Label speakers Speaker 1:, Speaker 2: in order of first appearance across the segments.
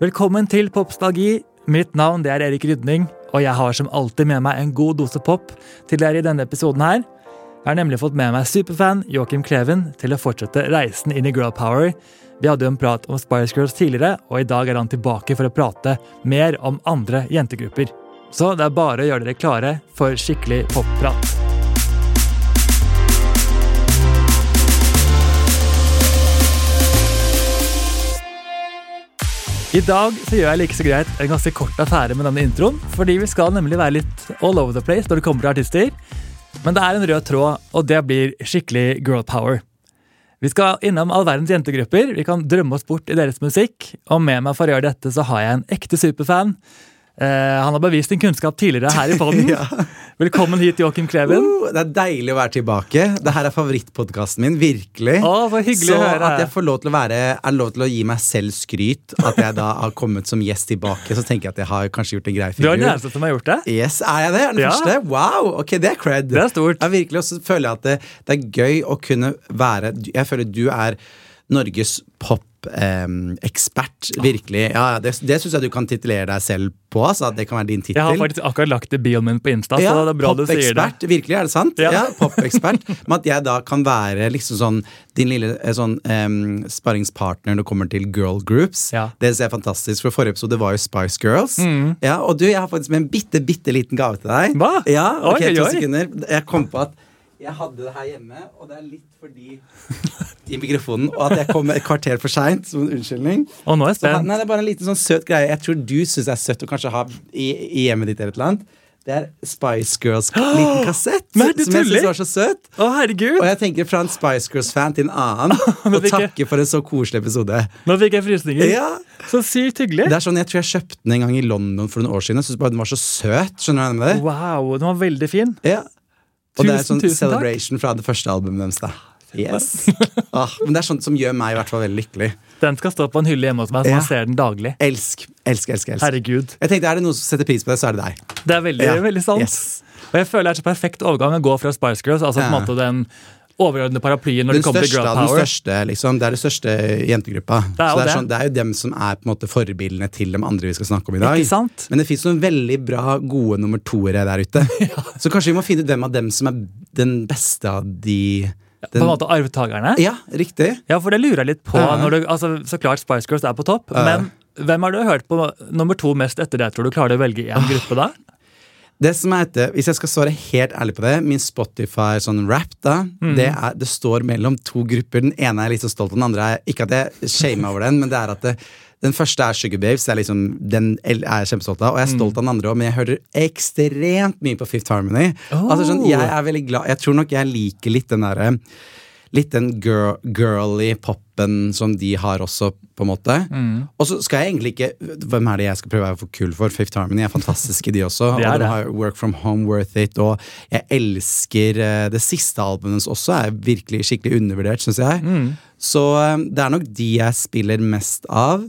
Speaker 1: Velkommen til Popstalgi. Mitt navn det er Erik Rydning, og jeg har som alltid med meg en god dose pop til dere i denne episoden her. Jeg har nemlig fått med meg superfan Joakim Kleven til å fortsette reisen inn i Girl Power. Vi hadde jo en prat om Spice Girls tidligere, og i dag er han tilbake for å prate mer om andre jentegrupper. Så det er bare å gjøre dere klare for skikkelig popprat. I dag så gjør jeg like så greit en ganske kort affære med denne introen, fordi vi skal nemlig være litt all over the place når det kommer til artister. Men det er en rød tråd, og det blir skikkelig girl power. Vi skal innom all verdens jentegrupper, vi kan drømme oss bort i deres musikk, og med meg for å gjøre dette så har jeg en ekte superfan. Eh, han har bevist din kunnskap tidligere her i podden. Velkommen hit, Joakim Kleven.
Speaker 2: Uh, det er deilig å være tilbake. Det her er favorittpodkasten min. virkelig
Speaker 1: Å, så hyggelig
Speaker 2: Så
Speaker 1: å høre.
Speaker 2: at jeg får lov til å være er lov til å gi meg selv skryt, at jeg da har kommet som gjest tilbake, så tenker jeg at jeg har kanskje gjort en grei
Speaker 1: Du er den
Speaker 2: figur.
Speaker 1: eneste som har gjort det.
Speaker 2: Yes, er jeg det? Er den
Speaker 1: Ja.
Speaker 2: første? Wow! Ok, det er cred.
Speaker 1: Det er stort.
Speaker 2: Ja, virkelig, Og så føler jeg at det, det er gøy å kunne være Jeg føler du er Norges pop-ekspert, virkelig. Ja, ja, det det syns jeg du kan titulere deg selv på. Så at det kan være din tittel.
Speaker 1: Jeg har faktisk akkurat lagt det bioen min på Insta, så Altså, det er bra du sier det.
Speaker 2: Popekspert, virkelig, er det sant?
Speaker 1: Ja.
Speaker 2: Ja, popekspert. Men at jeg da kan være liksom sånn din lille eh, sånn, em, sparringspartner når det kommer til girl groups.
Speaker 1: Ja. Mm.
Speaker 2: Det ser jeg er fantastisk, for forrige episode var jo Spice Girls. Ja, og du, jeg har faktisk med en bitte, bitte liten gave til deg.
Speaker 1: Hva?
Speaker 2: Ja, ok,
Speaker 1: Oi,
Speaker 2: to
Speaker 1: oi.
Speaker 2: sekunder. Jeg kom på at jeg hadde det her hjemme, og det er litt fordi i mikrofonen, og at jeg kom et kvarter for seint, som en unnskyldning.
Speaker 1: Og nå er jeg
Speaker 2: Så, han-
Speaker 1: spent.
Speaker 2: nei, det er bare en liten sånn søt greie. Jeg tror du syns det er søtt å kanskje ha i, i hjemmet ditt eller et eller annet. Det er Spice Girls liten kassett.
Speaker 1: Nei, du
Speaker 2: som jeg
Speaker 1: tuller.
Speaker 2: syns var så søt.
Speaker 1: Å, herregud!
Speaker 2: Og jeg tenker fra en Spice Girls-fan til en annen.
Speaker 1: Men
Speaker 2: og
Speaker 1: det er ikke-
Speaker 2: takke for en så koselig episode.
Speaker 1: Nå fikk jeg frysninger.
Speaker 2: Ja.
Speaker 1: Så sykt hyggelig.
Speaker 2: Det er sånn, Jeg tror jeg kjøpte den en gang i London for noen år siden. Jeg synes bare den var så søt. Skjønner du hva jeg mener?
Speaker 1: Wow, den var veldig fin.
Speaker 2: Ja. Og det er
Speaker 1: Tusen,
Speaker 2: sånn
Speaker 1: tusen takk.
Speaker 2: celebration fra det første albumet deres. da Yes. Ah, men det er sånt som gjør meg i hvert fall veldig lykkelig.
Speaker 1: Den skal stå på en hylle hjemme hos meg, så
Speaker 2: Ja.
Speaker 1: man ser den daglig.
Speaker 2: Elsk, elsk, elsk. elsk.
Speaker 1: Herregud.
Speaker 2: Jeg tenkte, Er det noen som setter pris på det, så er det deg.
Speaker 1: Det er veldig,
Speaker 2: Ja.
Speaker 1: veldig sant.
Speaker 2: Yes.
Speaker 1: Og jeg føler det er så perfekt overgang å gå fra Spice Girls, altså på en
Speaker 2: Ja.
Speaker 1: måte den overordnede paraplyen når
Speaker 2: den
Speaker 1: det kommer til
Speaker 2: største,
Speaker 1: Girl
Speaker 2: av den
Speaker 1: Power.
Speaker 2: største, liksom. Det er den største jentegruppa.
Speaker 1: Det er jo
Speaker 2: så det, er
Speaker 1: det.
Speaker 2: sånn, det er jo dem som er på en måte forbildene til de andre vi skal snakke om i dag.
Speaker 1: Ikke sant?
Speaker 2: Men det fins noen veldig bra, gode nummer toere der ute. Så kanskje vi må finne ut hvem av dem som er den beste av de
Speaker 1: På
Speaker 2: den,
Speaker 1: en måte arvtakerne.
Speaker 2: Ja, riktig.
Speaker 1: Ja, for det lurer jeg litt på.
Speaker 2: Ja.
Speaker 1: Når du, altså, så klart Spice Girls er på topp, men hvem har du hørt på nummer to mest etter det? Tror du klarer du å velge én gruppe da?
Speaker 2: Det som er etter, Hvis jeg skal svare helt ærlig på det, min Spotify sånn rap da, det, er, det står mellom to grupper. Den ene er jeg litt så stolt av, den andre er Ikke at jeg shamer over den, men det er at det, den første er Sugar Babes. Det er liksom, den el- er jeg kjempestolt av. Og jeg er stolt av den andre òg, men jeg hører ekstremt mye på Fifth Harmony. Altså sånn, Jeg er veldig glad Jeg tror nok jeg liker litt den derre Litt den girl, girly poppen som de har også, på en måte.
Speaker 1: Mm.
Speaker 2: Og så skal jeg egentlig ikke Hvem er det jeg skal prøve å være for kul for? Fifth Harmony er fantastiske, de også.
Speaker 1: Det er
Speaker 2: og
Speaker 1: det.
Speaker 2: de har Work From Home, Worth It. Og jeg elsker eh, det siste albumet hennes også. er virkelig skikkelig undervurdert, syns jeg.
Speaker 1: Mm.
Speaker 2: Så eh, det er nok de jeg spiller mest av.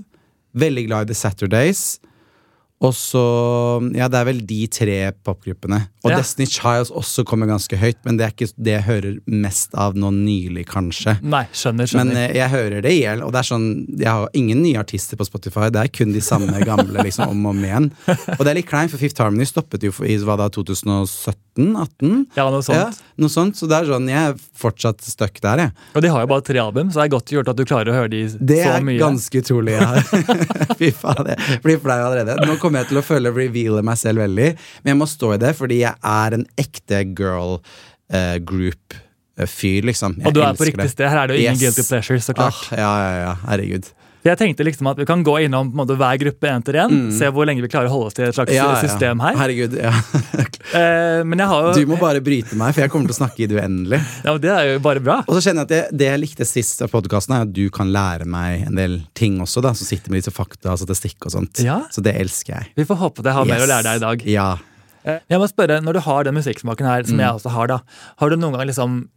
Speaker 2: Veldig glad i The Saturdays. Og så Ja, det er vel de tre popgruppene. Og
Speaker 1: Ja.
Speaker 2: Destiny Childs også kommer ganske høyt, men det er ikke det jeg hører mest av nå nylig, kanskje.
Speaker 1: Nei, skjønner.
Speaker 2: Men
Speaker 1: skjønner.
Speaker 2: eh, jeg hører det i hjel. Og det er sånn, jeg har ingen nye artister på Spotify. Det er kun de samme gamle liksom, om og om igjen. Og det er litt kleint, for Fifth Harmony stoppet jo for, i hva da, 2017-18?
Speaker 1: ja, noe
Speaker 2: eh, Ja,
Speaker 1: sånt.
Speaker 2: noe sånt. Så det er sånn, jeg er fortsatt stuck der, jeg.
Speaker 1: Og de har jo bare tre album, så det er godt gjort at du klarer å høre de
Speaker 2: Det
Speaker 1: så
Speaker 2: er
Speaker 1: mye.
Speaker 2: ganske utrolig. Ja. Fy faen, jeg blir flau allerede. Nå kommer jeg til å føle reveale meg selv veldig, men jeg må stå i det, fordi jeg er en ekte girl eh, group-fyr, liksom. Jeg
Speaker 1: Og du er på
Speaker 2: elsker
Speaker 1: riktig sted. Her er det jo ingen
Speaker 2: Yes.
Speaker 1: guilty pleasures, så klart.
Speaker 2: Ah, ja, ja, ja. Herregud.
Speaker 1: Jeg tenkte liksom at Vi kan gå innom på en måte, hver gruppe en til en, se hvor lenge vi klarer å holde oss til et slags
Speaker 2: Mm. Ja, ja.
Speaker 1: system her.
Speaker 2: Herregud, ja.
Speaker 1: Eh, men jeg har jo
Speaker 2: Du må bare bryte meg, for jeg kommer til å snakke i det uendelige.
Speaker 1: ja, men Det er jo bare bra.
Speaker 2: Og så kjenner jeg at det, det jeg likte sist av podkasten, er at du kan lære meg en del ting også, da, som sitter med disse fakta og statistikk og sånt.
Speaker 1: Ja.
Speaker 2: Så det elsker jeg.
Speaker 1: Vi får håpe at jeg har mer å lære deg i dag.
Speaker 2: Ja.
Speaker 1: Eh, Jeg må spørre, Når du har den musikksmaken her,
Speaker 2: Mm.
Speaker 1: som jeg også har, da, har du noen gang liksom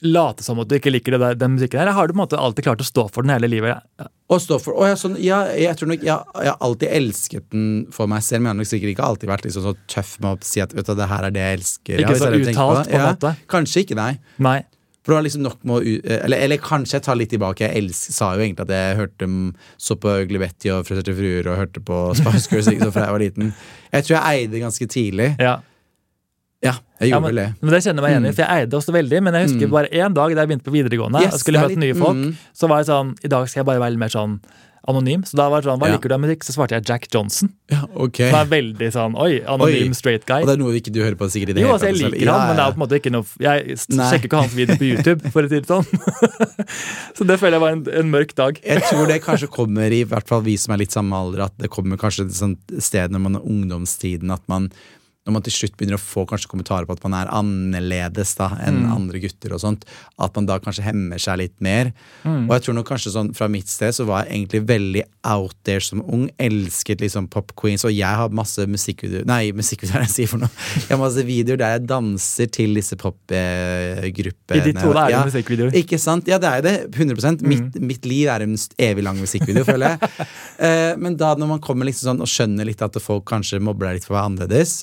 Speaker 1: late som at du ikke liker det der, den musikken her? eller Har du på en måte alltid klart å stå for den hele livet?
Speaker 2: Og stå for, å, ja, sånn, ja, jeg tror nok jeg, jeg har alltid elsket den for meg selv, men jeg har nok sikkert ikke alltid vært liksom så tøff med å si at vet du, det her er det jeg elsker.
Speaker 1: Ikke
Speaker 2: hvis
Speaker 1: så
Speaker 2: jeg tenker
Speaker 1: uttalt, på en måte.
Speaker 2: Kanskje ikke, nei.
Speaker 1: Nei.
Speaker 2: For det var liksom nok med å u- eh, eller, eller kanskje jeg tar litt tilbake. Jeg elsk, sa jo egentlig at jeg hørte m- så på Glibetti og Frustrerte fruer og hørte på Spice Girls ikke sant, fra jeg var liten. Jeg tror jeg eide ganske tidlig.
Speaker 1: Ja.
Speaker 2: Ja, jeg
Speaker 1: Ja,
Speaker 2: gjorde
Speaker 1: men,
Speaker 2: vel det. Mm.
Speaker 1: men Det kjenner jeg meg igjen i, for jeg eide også veldig. Men jeg husker bare én dag da jeg begynte på videregående
Speaker 2: Yes,
Speaker 1: og skulle
Speaker 2: det er
Speaker 1: møte
Speaker 2: litt-
Speaker 1: nye folk.
Speaker 2: mm.
Speaker 1: Så var jeg sånn I dag skal jeg bare være litt mer sånn anonym. Så da var det sånn Hva
Speaker 2: Ja.
Speaker 1: liker du av musikk? Så svarte jeg Jack Johnson.
Speaker 2: Ja, ok.
Speaker 1: Det var veldig sånn Oi,
Speaker 2: Oi.
Speaker 1: anonym straight guy.
Speaker 2: Og det er noe ikke du hører på sikkert i det
Speaker 1: Jo,
Speaker 2: hele
Speaker 1: altså, jeg
Speaker 2: tatt, selv.
Speaker 1: liker han, men det er på en måte ikke noe Jeg s-
Speaker 2: Nei.
Speaker 1: sjekker ikke hans video på YouTube, for å si det sånn. så det føler jeg var en, en mørk dag.
Speaker 2: Jeg tror det kanskje kommer i hvert fall vi som er litt samme alder, at det kommer kanskje et sånt sted når man er ungdomstiden, at man når man til slutt begynner å få kanskje kommentarer på at man er annerledes da, enn andre gutter, og sånt, at man da kanskje hemmer seg litt mer. Og jeg tror nok kanskje sånn, Fra mitt sted så var jeg egentlig veldig out there som ung. Elsket liksom pop queens, og jeg har masse musikkvideoer Nei, musikkvideoer er det jeg sier for noe. Jeg har masse videoer der jeg danser til disse eh, popgruppene.
Speaker 1: I ditt hode er det musikkvideoer.
Speaker 2: Ikke sant? Ja, det er jo det. 100 mitt,
Speaker 1: Mm.
Speaker 2: mitt liv er en st- evig lang musikkvideo, føler jeg. Eh, men da når man kommer liksom sånn og skjønner litt at folk kanskje mobber deg litt for å være annerledes,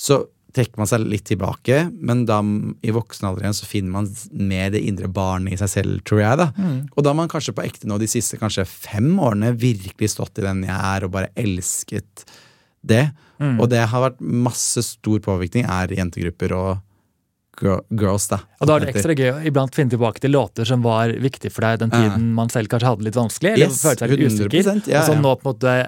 Speaker 2: så trekker man seg litt tilbake. Men da m- i voksen alder igjen så finner man s- mer det indre barnet i seg selv, tror jeg. da.
Speaker 1: Mm.
Speaker 2: Og da har man kanskje på ekte nå de siste kanskje fem årene virkelig stått i den jeg er, og bare elsket det.
Speaker 1: Mm.
Speaker 2: Og det har vært masse stor påvirkning, er jentegrupper og gir- girls, da.
Speaker 1: Og da er det ekstra gøy å iblant finne tilbake til låter som var viktige for deg den
Speaker 2: Ja.
Speaker 1: tiden man selv kanskje hadde det litt vanskelig, eller
Speaker 2: Yes,
Speaker 1: følte seg litt usikker.
Speaker 2: 100%, ja,
Speaker 1: og så
Speaker 2: ja.
Speaker 1: Altså, nå på en måte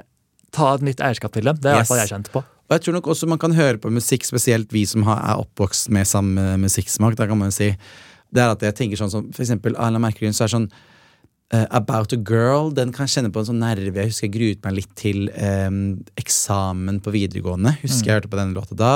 Speaker 1: ta et nytt eierskap til dem. Det er i
Speaker 2: Yes.
Speaker 1: hvert fall jeg kjent på.
Speaker 2: Og jeg tror nok også man kan høre på musikk, spesielt vi som har, er oppvokst med samme musikksmak. Da kan man jo si Det er at jeg tenker sånn som for eksempel Anna Merkelund, så er det sånn eh, About a Girl, den kan jeg kjenne på en sånn nerve. Jeg husker jeg gruet meg litt til eh, eksamen på videregående. Husker jeg hørte på den låta da.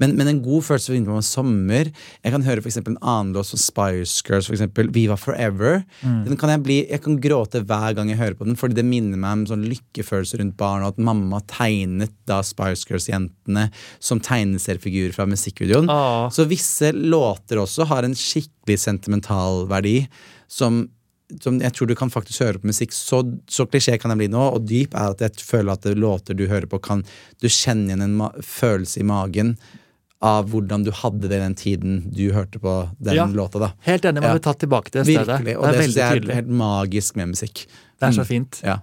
Speaker 2: Men, men en god følelse forbinder man med sommer. Jeg kan høre for eksempel en annen låt som Spice Girls, for eksempel Viva Forever. Den kan jeg, bli, jeg kan gråte hver gang jeg hører på den, fordi det minner meg om sånn lykkefølelse rundt barn, og at mamma tegnet da Spice Girls-jentene som tegneseriefigurer fra musikkvideoen.
Speaker 1: Åh.
Speaker 2: Så visse låter også har en skikkelig sentimental verdi som som jeg tror du kan faktisk høre på musikk. Så, så klisjé kan jeg bli nå, og dyp er at jeg føler at det låter du hører på, kan du kjenne igjen en ma følelse i magen av hvordan du hadde det den tiden du hørte på den
Speaker 1: Ja.
Speaker 2: låta. da
Speaker 1: Helt enig, man
Speaker 2: Ja.
Speaker 1: blir tatt tilbake til det stedet.
Speaker 2: Virkelig. Og
Speaker 1: det er
Speaker 2: det, synes
Speaker 1: veldig
Speaker 2: jeg er
Speaker 1: tydelig.
Speaker 2: helt Mm. magisk med musikk.
Speaker 1: Det er så fint.
Speaker 2: Ja.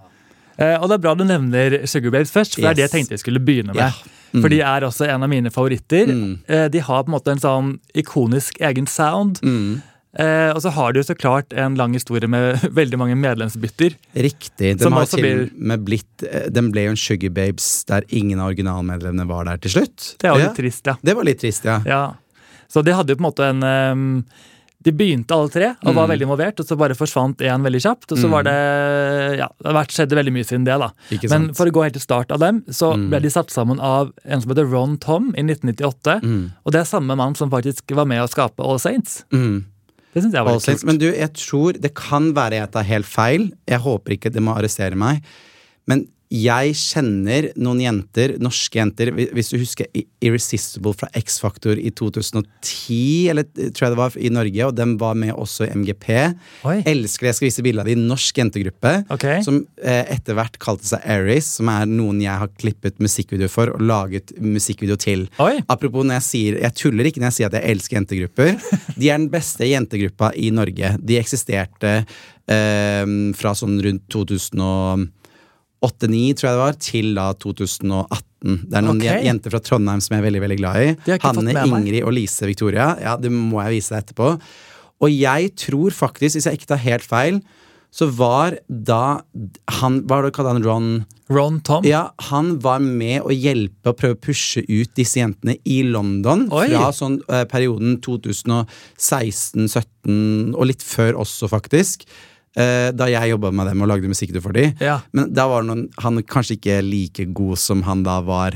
Speaker 1: Eh, og det er bra du nevner Sugar Babes først, for det er det jeg
Speaker 2: Yes.
Speaker 1: tenkte jeg skulle begynne med.
Speaker 2: Ja. Mm.
Speaker 1: For de er også en av mine favoritter. Eh, de har på en måte en sånn ikonisk egen sound.
Speaker 2: Mm.
Speaker 1: Eh, og så har de jo så klart en lang historie med veldig mange medlemsbytter.
Speaker 2: Riktig. De
Speaker 1: Som
Speaker 2: har
Speaker 1: også
Speaker 2: til
Speaker 1: blir-
Speaker 2: med blitt eh, Den ble jo en Sugar Babes der ingen av originalmedlemmene var der til slutt.
Speaker 1: Det er jo
Speaker 2: Ja.
Speaker 1: litt trist, ja.
Speaker 2: Det var litt trist, ja.
Speaker 1: ja. Så de hadde jo på en måte en ehm, De begynte alle tre og
Speaker 2: Mm.
Speaker 1: var veldig involvert, og så bare forsvant én veldig kjapt. Og så var det Ja, det har vært, skjedde veldig mye siden det, da.
Speaker 2: Ikke
Speaker 1: Men
Speaker 2: sant? Mm.
Speaker 1: for å gå helt til start av dem, så ble de satt sammen av en som heter Ron Tom i 1998. Og det er samme mann som faktisk var med å skape All Saints.
Speaker 2: Mm.
Speaker 1: Det synes jeg var
Speaker 2: All
Speaker 1: litt kult.
Speaker 2: Saints. Men du, jeg tror det kan være jeg tar helt feil. Jeg håper ikke det må arrestere meg. Men jeg kjenner noen jenter, norske jenter hvi- Hvis du husker I- Irresistible fra X Factor i 2010, eller eh, tror jeg det var i Norge, og den var med også i MGP.
Speaker 1: Oi.
Speaker 2: Elsker det. Jeg skal vise bilde av det i norsk jentegruppe.
Speaker 1: Ok.
Speaker 2: Som eh, etter hvert kalte seg Aries, som er noen jeg har klippet musikkvideo for og laget musikkvideo til.
Speaker 1: Oi.
Speaker 2: Apropos når jeg sier Jeg tuller ikke når jeg sier at jeg elsker jentegrupper. De er den beste jentegruppa i Norge. De eksisterte eh, fra sånn rundt 2008-2009, tror jeg det var, til da 2018. Det er noen
Speaker 1: Ok.
Speaker 2: jen- jenter fra Trondheim som jeg er veldig veldig glad i.
Speaker 1: har jeg ikke fått
Speaker 2: Hanne,
Speaker 1: med meg.
Speaker 2: Ingrid og Lise Victoria. Ja, Det må jeg vise deg etterpå. Og jeg tror faktisk, hvis jeg ikke tar helt feil, så var da han Hva var det du kalte han? Ron?
Speaker 1: Ron Tom.
Speaker 2: Ja, han var med å hjelpe og prøve å pushe ut disse jentene i London
Speaker 1: Oi.
Speaker 2: fra sånn eh, perioden 2016-17 og litt før også, faktisk. eh, da jeg jobba med dem og lagde musikk for dem.
Speaker 1: Ja.
Speaker 2: Men da var noen, han kanskje ikke like god som han da var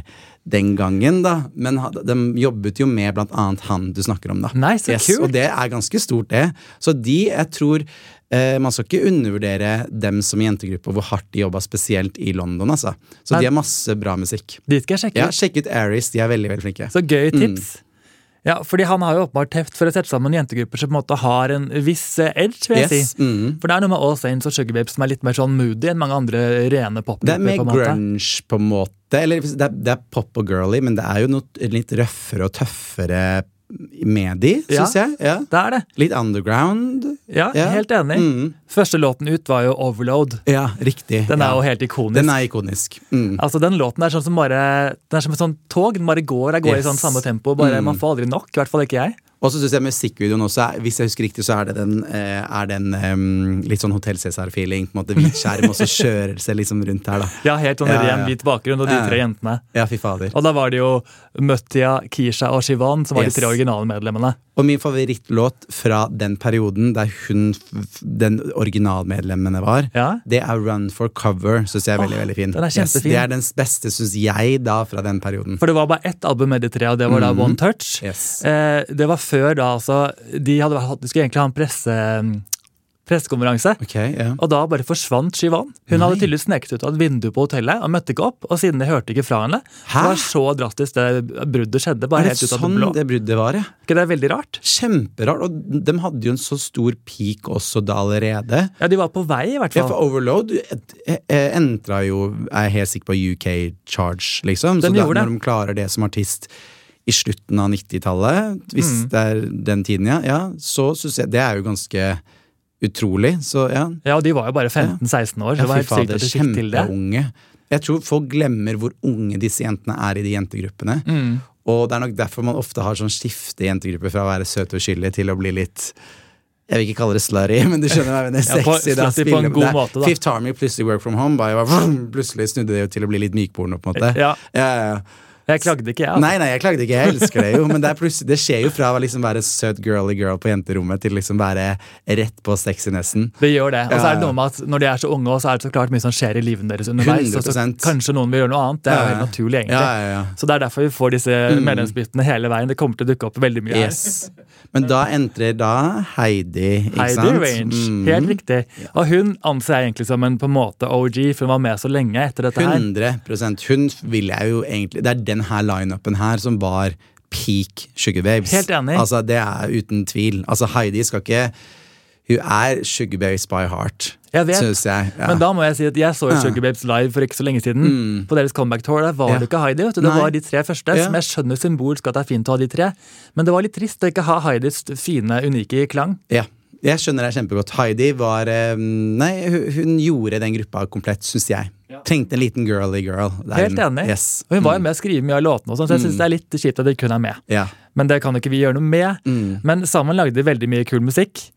Speaker 2: den gangen, da. Men han- de jobbet jo med blant annet han du snakker om, da.
Speaker 1: Nei, så kult.
Speaker 2: Og det er ganske stort, det. Så de, jeg tror eh, Man skal ikke undervurdere dem som jentegruppe, og hvor hardt de jobba, spesielt i London, altså. Så
Speaker 1: Nei.
Speaker 2: de har masse bra musikk.
Speaker 1: Dit skal jeg sjekke.
Speaker 2: Ja, Mm. sjekk ut Aries, de er veldig, veldig flinke.
Speaker 1: Så gøy tips. Ja, fordi han har jo åpenbart teft for å sette sammen jentegrupper som på en måte har en viss eh, edge, vil jeg
Speaker 2: Yes,
Speaker 1: si.
Speaker 2: mm.
Speaker 1: For det er noe med All Saints og Sugar Babes som er litt mer sånn moody enn mange andre rene
Speaker 2: Det er
Speaker 1: popgrupper.
Speaker 2: mer
Speaker 1: på en måte.
Speaker 2: grunge, på en måte. Eller det er, det er pop og girly, men det er jo noe litt røffere og tøffere med de, syns
Speaker 1: Ja.
Speaker 2: jeg. Ja.
Speaker 1: Det er det.
Speaker 2: Litt underground.
Speaker 1: Ja,
Speaker 2: Ja.
Speaker 1: Helt enig.
Speaker 2: Mm.
Speaker 1: Første låten ut var jo 'Overload'.
Speaker 2: Ja, riktig.
Speaker 1: Den er
Speaker 2: ja.
Speaker 1: jo helt ikonisk.
Speaker 2: den er ikonisk. Mm.
Speaker 1: Altså Den låten er sånn som bare Den er som et sånn tog. Den bare går og går
Speaker 2: Yes.
Speaker 1: i sånn samme tempo. Bare
Speaker 2: Mm.
Speaker 1: Man får aldri nok. I hvert fall ikke jeg.
Speaker 2: Og så syns jeg musikkvideoen også er, Hvis jeg husker riktig, så er det den, eh, er den em, litt sånn Hotell Cæsar-feeling. På en måte hvit skjerm, og så kjører det seg liksom rundt her, da.
Speaker 1: Ja, helt sånn
Speaker 2: Ja, ja,
Speaker 1: ren
Speaker 2: ja.
Speaker 1: hvit bakgrunn og de
Speaker 2: Ja, ja.
Speaker 1: tre jentene.
Speaker 2: Ja, fy fader.
Speaker 1: Og da var det jo Mutya, Kisha og Shivan som var
Speaker 2: Yes.
Speaker 1: de tre originale medlemmene.
Speaker 2: Og min favorittlåt fra den perioden der hun, f- den originalmedlemmene var,
Speaker 1: Ja,
Speaker 2: det er Run for cover. Synes jeg er veldig,
Speaker 1: Åh,
Speaker 2: veldig fin.
Speaker 1: den er kjempefin.
Speaker 2: det er den beste, syns jeg, da, fra den perioden.
Speaker 1: For det var bare ett album med de tre, og det var da
Speaker 2: Mhm.
Speaker 1: One Touch.
Speaker 2: Yes.
Speaker 1: Eh, det var før da, altså De, hadde, hatt- de skulle egentlig ha en presse, mm, pressekonferanse.
Speaker 2: Ok, ja.
Speaker 1: Og da bare forsvant Shivan. Hun hadde tydeligvis sneket ut av et vindu på hotellet og møtte ikke opp. Og siden jeg hørte ikke fra henne,
Speaker 2: Hæ?
Speaker 1: det var så drastisk det bruddet skjedde.
Speaker 2: Er
Speaker 1: bare
Speaker 2: det
Speaker 1: helt ut av det
Speaker 2: sånn
Speaker 1: blå.
Speaker 2: det bruddet var, ja?
Speaker 1: Ikke det er veldig rart?
Speaker 2: Kjemperart. Og de hadde jo en så stor peak også da allerede.
Speaker 1: Ja, de var på vei, i hvert
Speaker 2: Ja, for
Speaker 1: fall.
Speaker 2: Overload eh, eh, entra jo Jeg er helt sikker på UK Charge, liksom.
Speaker 1: Den
Speaker 2: så da,
Speaker 1: gjorde det.
Speaker 2: når de klarer det som artist i slutten av 90-tallet, hvis
Speaker 1: Mm.
Speaker 2: det er den tiden, ja, ja så syns jeg det er jo ganske utrolig. Så ja.
Speaker 1: Ja, og de var jo bare 15-16 år, så
Speaker 2: ja
Speaker 1: det var helt sykt
Speaker 2: fy fader,
Speaker 1: at de fikk til det.
Speaker 2: kjempeunge. Jeg tror folk glemmer hvor unge disse jentene er i de jentegruppene.
Speaker 1: Mm.
Speaker 2: Og det er nok derfor man ofte har sånn skifte i jentegrupper fra å være søt og uskyldig til å bli litt jeg vil ikke kalle det slurry, men du skjønner hva jeg mener.
Speaker 1: Ja, på-
Speaker 2: Sexy, da.
Speaker 1: slutty på en
Speaker 2: spiller-
Speaker 1: god
Speaker 2: det er-
Speaker 1: måte, da.
Speaker 2: Fifth Harmony plutselig Work From Home bare var vroom, plutselig snudde det jo til å bli litt mykporno, på en måte.
Speaker 1: Ja,
Speaker 2: Ja, ja.
Speaker 1: jeg klagde ikke, jeg. altså.
Speaker 2: Nei, nei, jeg klagde ikke, jeg elsker det jo, men det, er plutselig- det skjer jo fra å liksom være søt girly girl på jenterommet til liksom være rett på sexinessen.
Speaker 1: Det gjør det. Og så
Speaker 2: Ja,
Speaker 1: er det
Speaker 2: ja.
Speaker 1: noe med at når de er så unge, også, så er det så klart mye som skjer i livet deres underveis. Og så
Speaker 2: 100%.
Speaker 1: kanskje noen vil gjøre noe annet. Det er jo
Speaker 2: Ja, ja.
Speaker 1: helt naturlig, egentlig.
Speaker 2: Ja, ja, ja.
Speaker 1: Så det er derfor vi får disse medlemsbyttene hele veien. Det kommer til å dukke opp veldig mye her.
Speaker 2: Mm. Yes. Men da entrer da Heidi, ikke
Speaker 1: Heidi
Speaker 2: sant?
Speaker 1: Range,
Speaker 2: Mm.
Speaker 1: helt riktig. Og hun anser jeg egentlig som en på en måte OG, for hun var med så lenge etter dette her.
Speaker 2: 100 Hun vil jeg jo egentlig Det er den her lineupen her som var peak Sugar Babes.
Speaker 1: Helt enig.
Speaker 2: Altså, det er uten tvil. Altså, Heidi skal ikke Hun er Sugar Babes by heart,
Speaker 1: Jeg vet.
Speaker 2: syns jeg. Ja.
Speaker 1: Men da må jeg si at jeg så jo
Speaker 2: Ja. Mm.
Speaker 1: Sugar Babes live for ikke så lenge siden. På deres comeback-tour der var
Speaker 2: Ja.
Speaker 1: det ikke Heidi. vet du Det
Speaker 2: Nei.
Speaker 1: var de tre første,
Speaker 2: Ja.
Speaker 1: som jeg skjønner symbolsk at det er fint å ha de tre. Men det var litt trist å ikke ha Heidis fine, unike klang.
Speaker 2: Ja. Jeg skjønner deg kjempegodt. Heidi var eh, Nei, hun, hun gjorde den gruppa komplett, syns jeg. Trengte en liten girly girl. Det er
Speaker 1: Helt
Speaker 2: hun.
Speaker 1: enig.
Speaker 2: Yes.
Speaker 1: Og hun var jo med å skrive mye av låtene, og sånn, så
Speaker 2: Mm.
Speaker 1: jeg syns det er litt kjipt at de kun er med.
Speaker 2: Ja.
Speaker 1: Men det kan jo ikke vi gjøre noe med.
Speaker 2: Mm.
Speaker 1: Men sammen lagde de veldig mye kul musikk.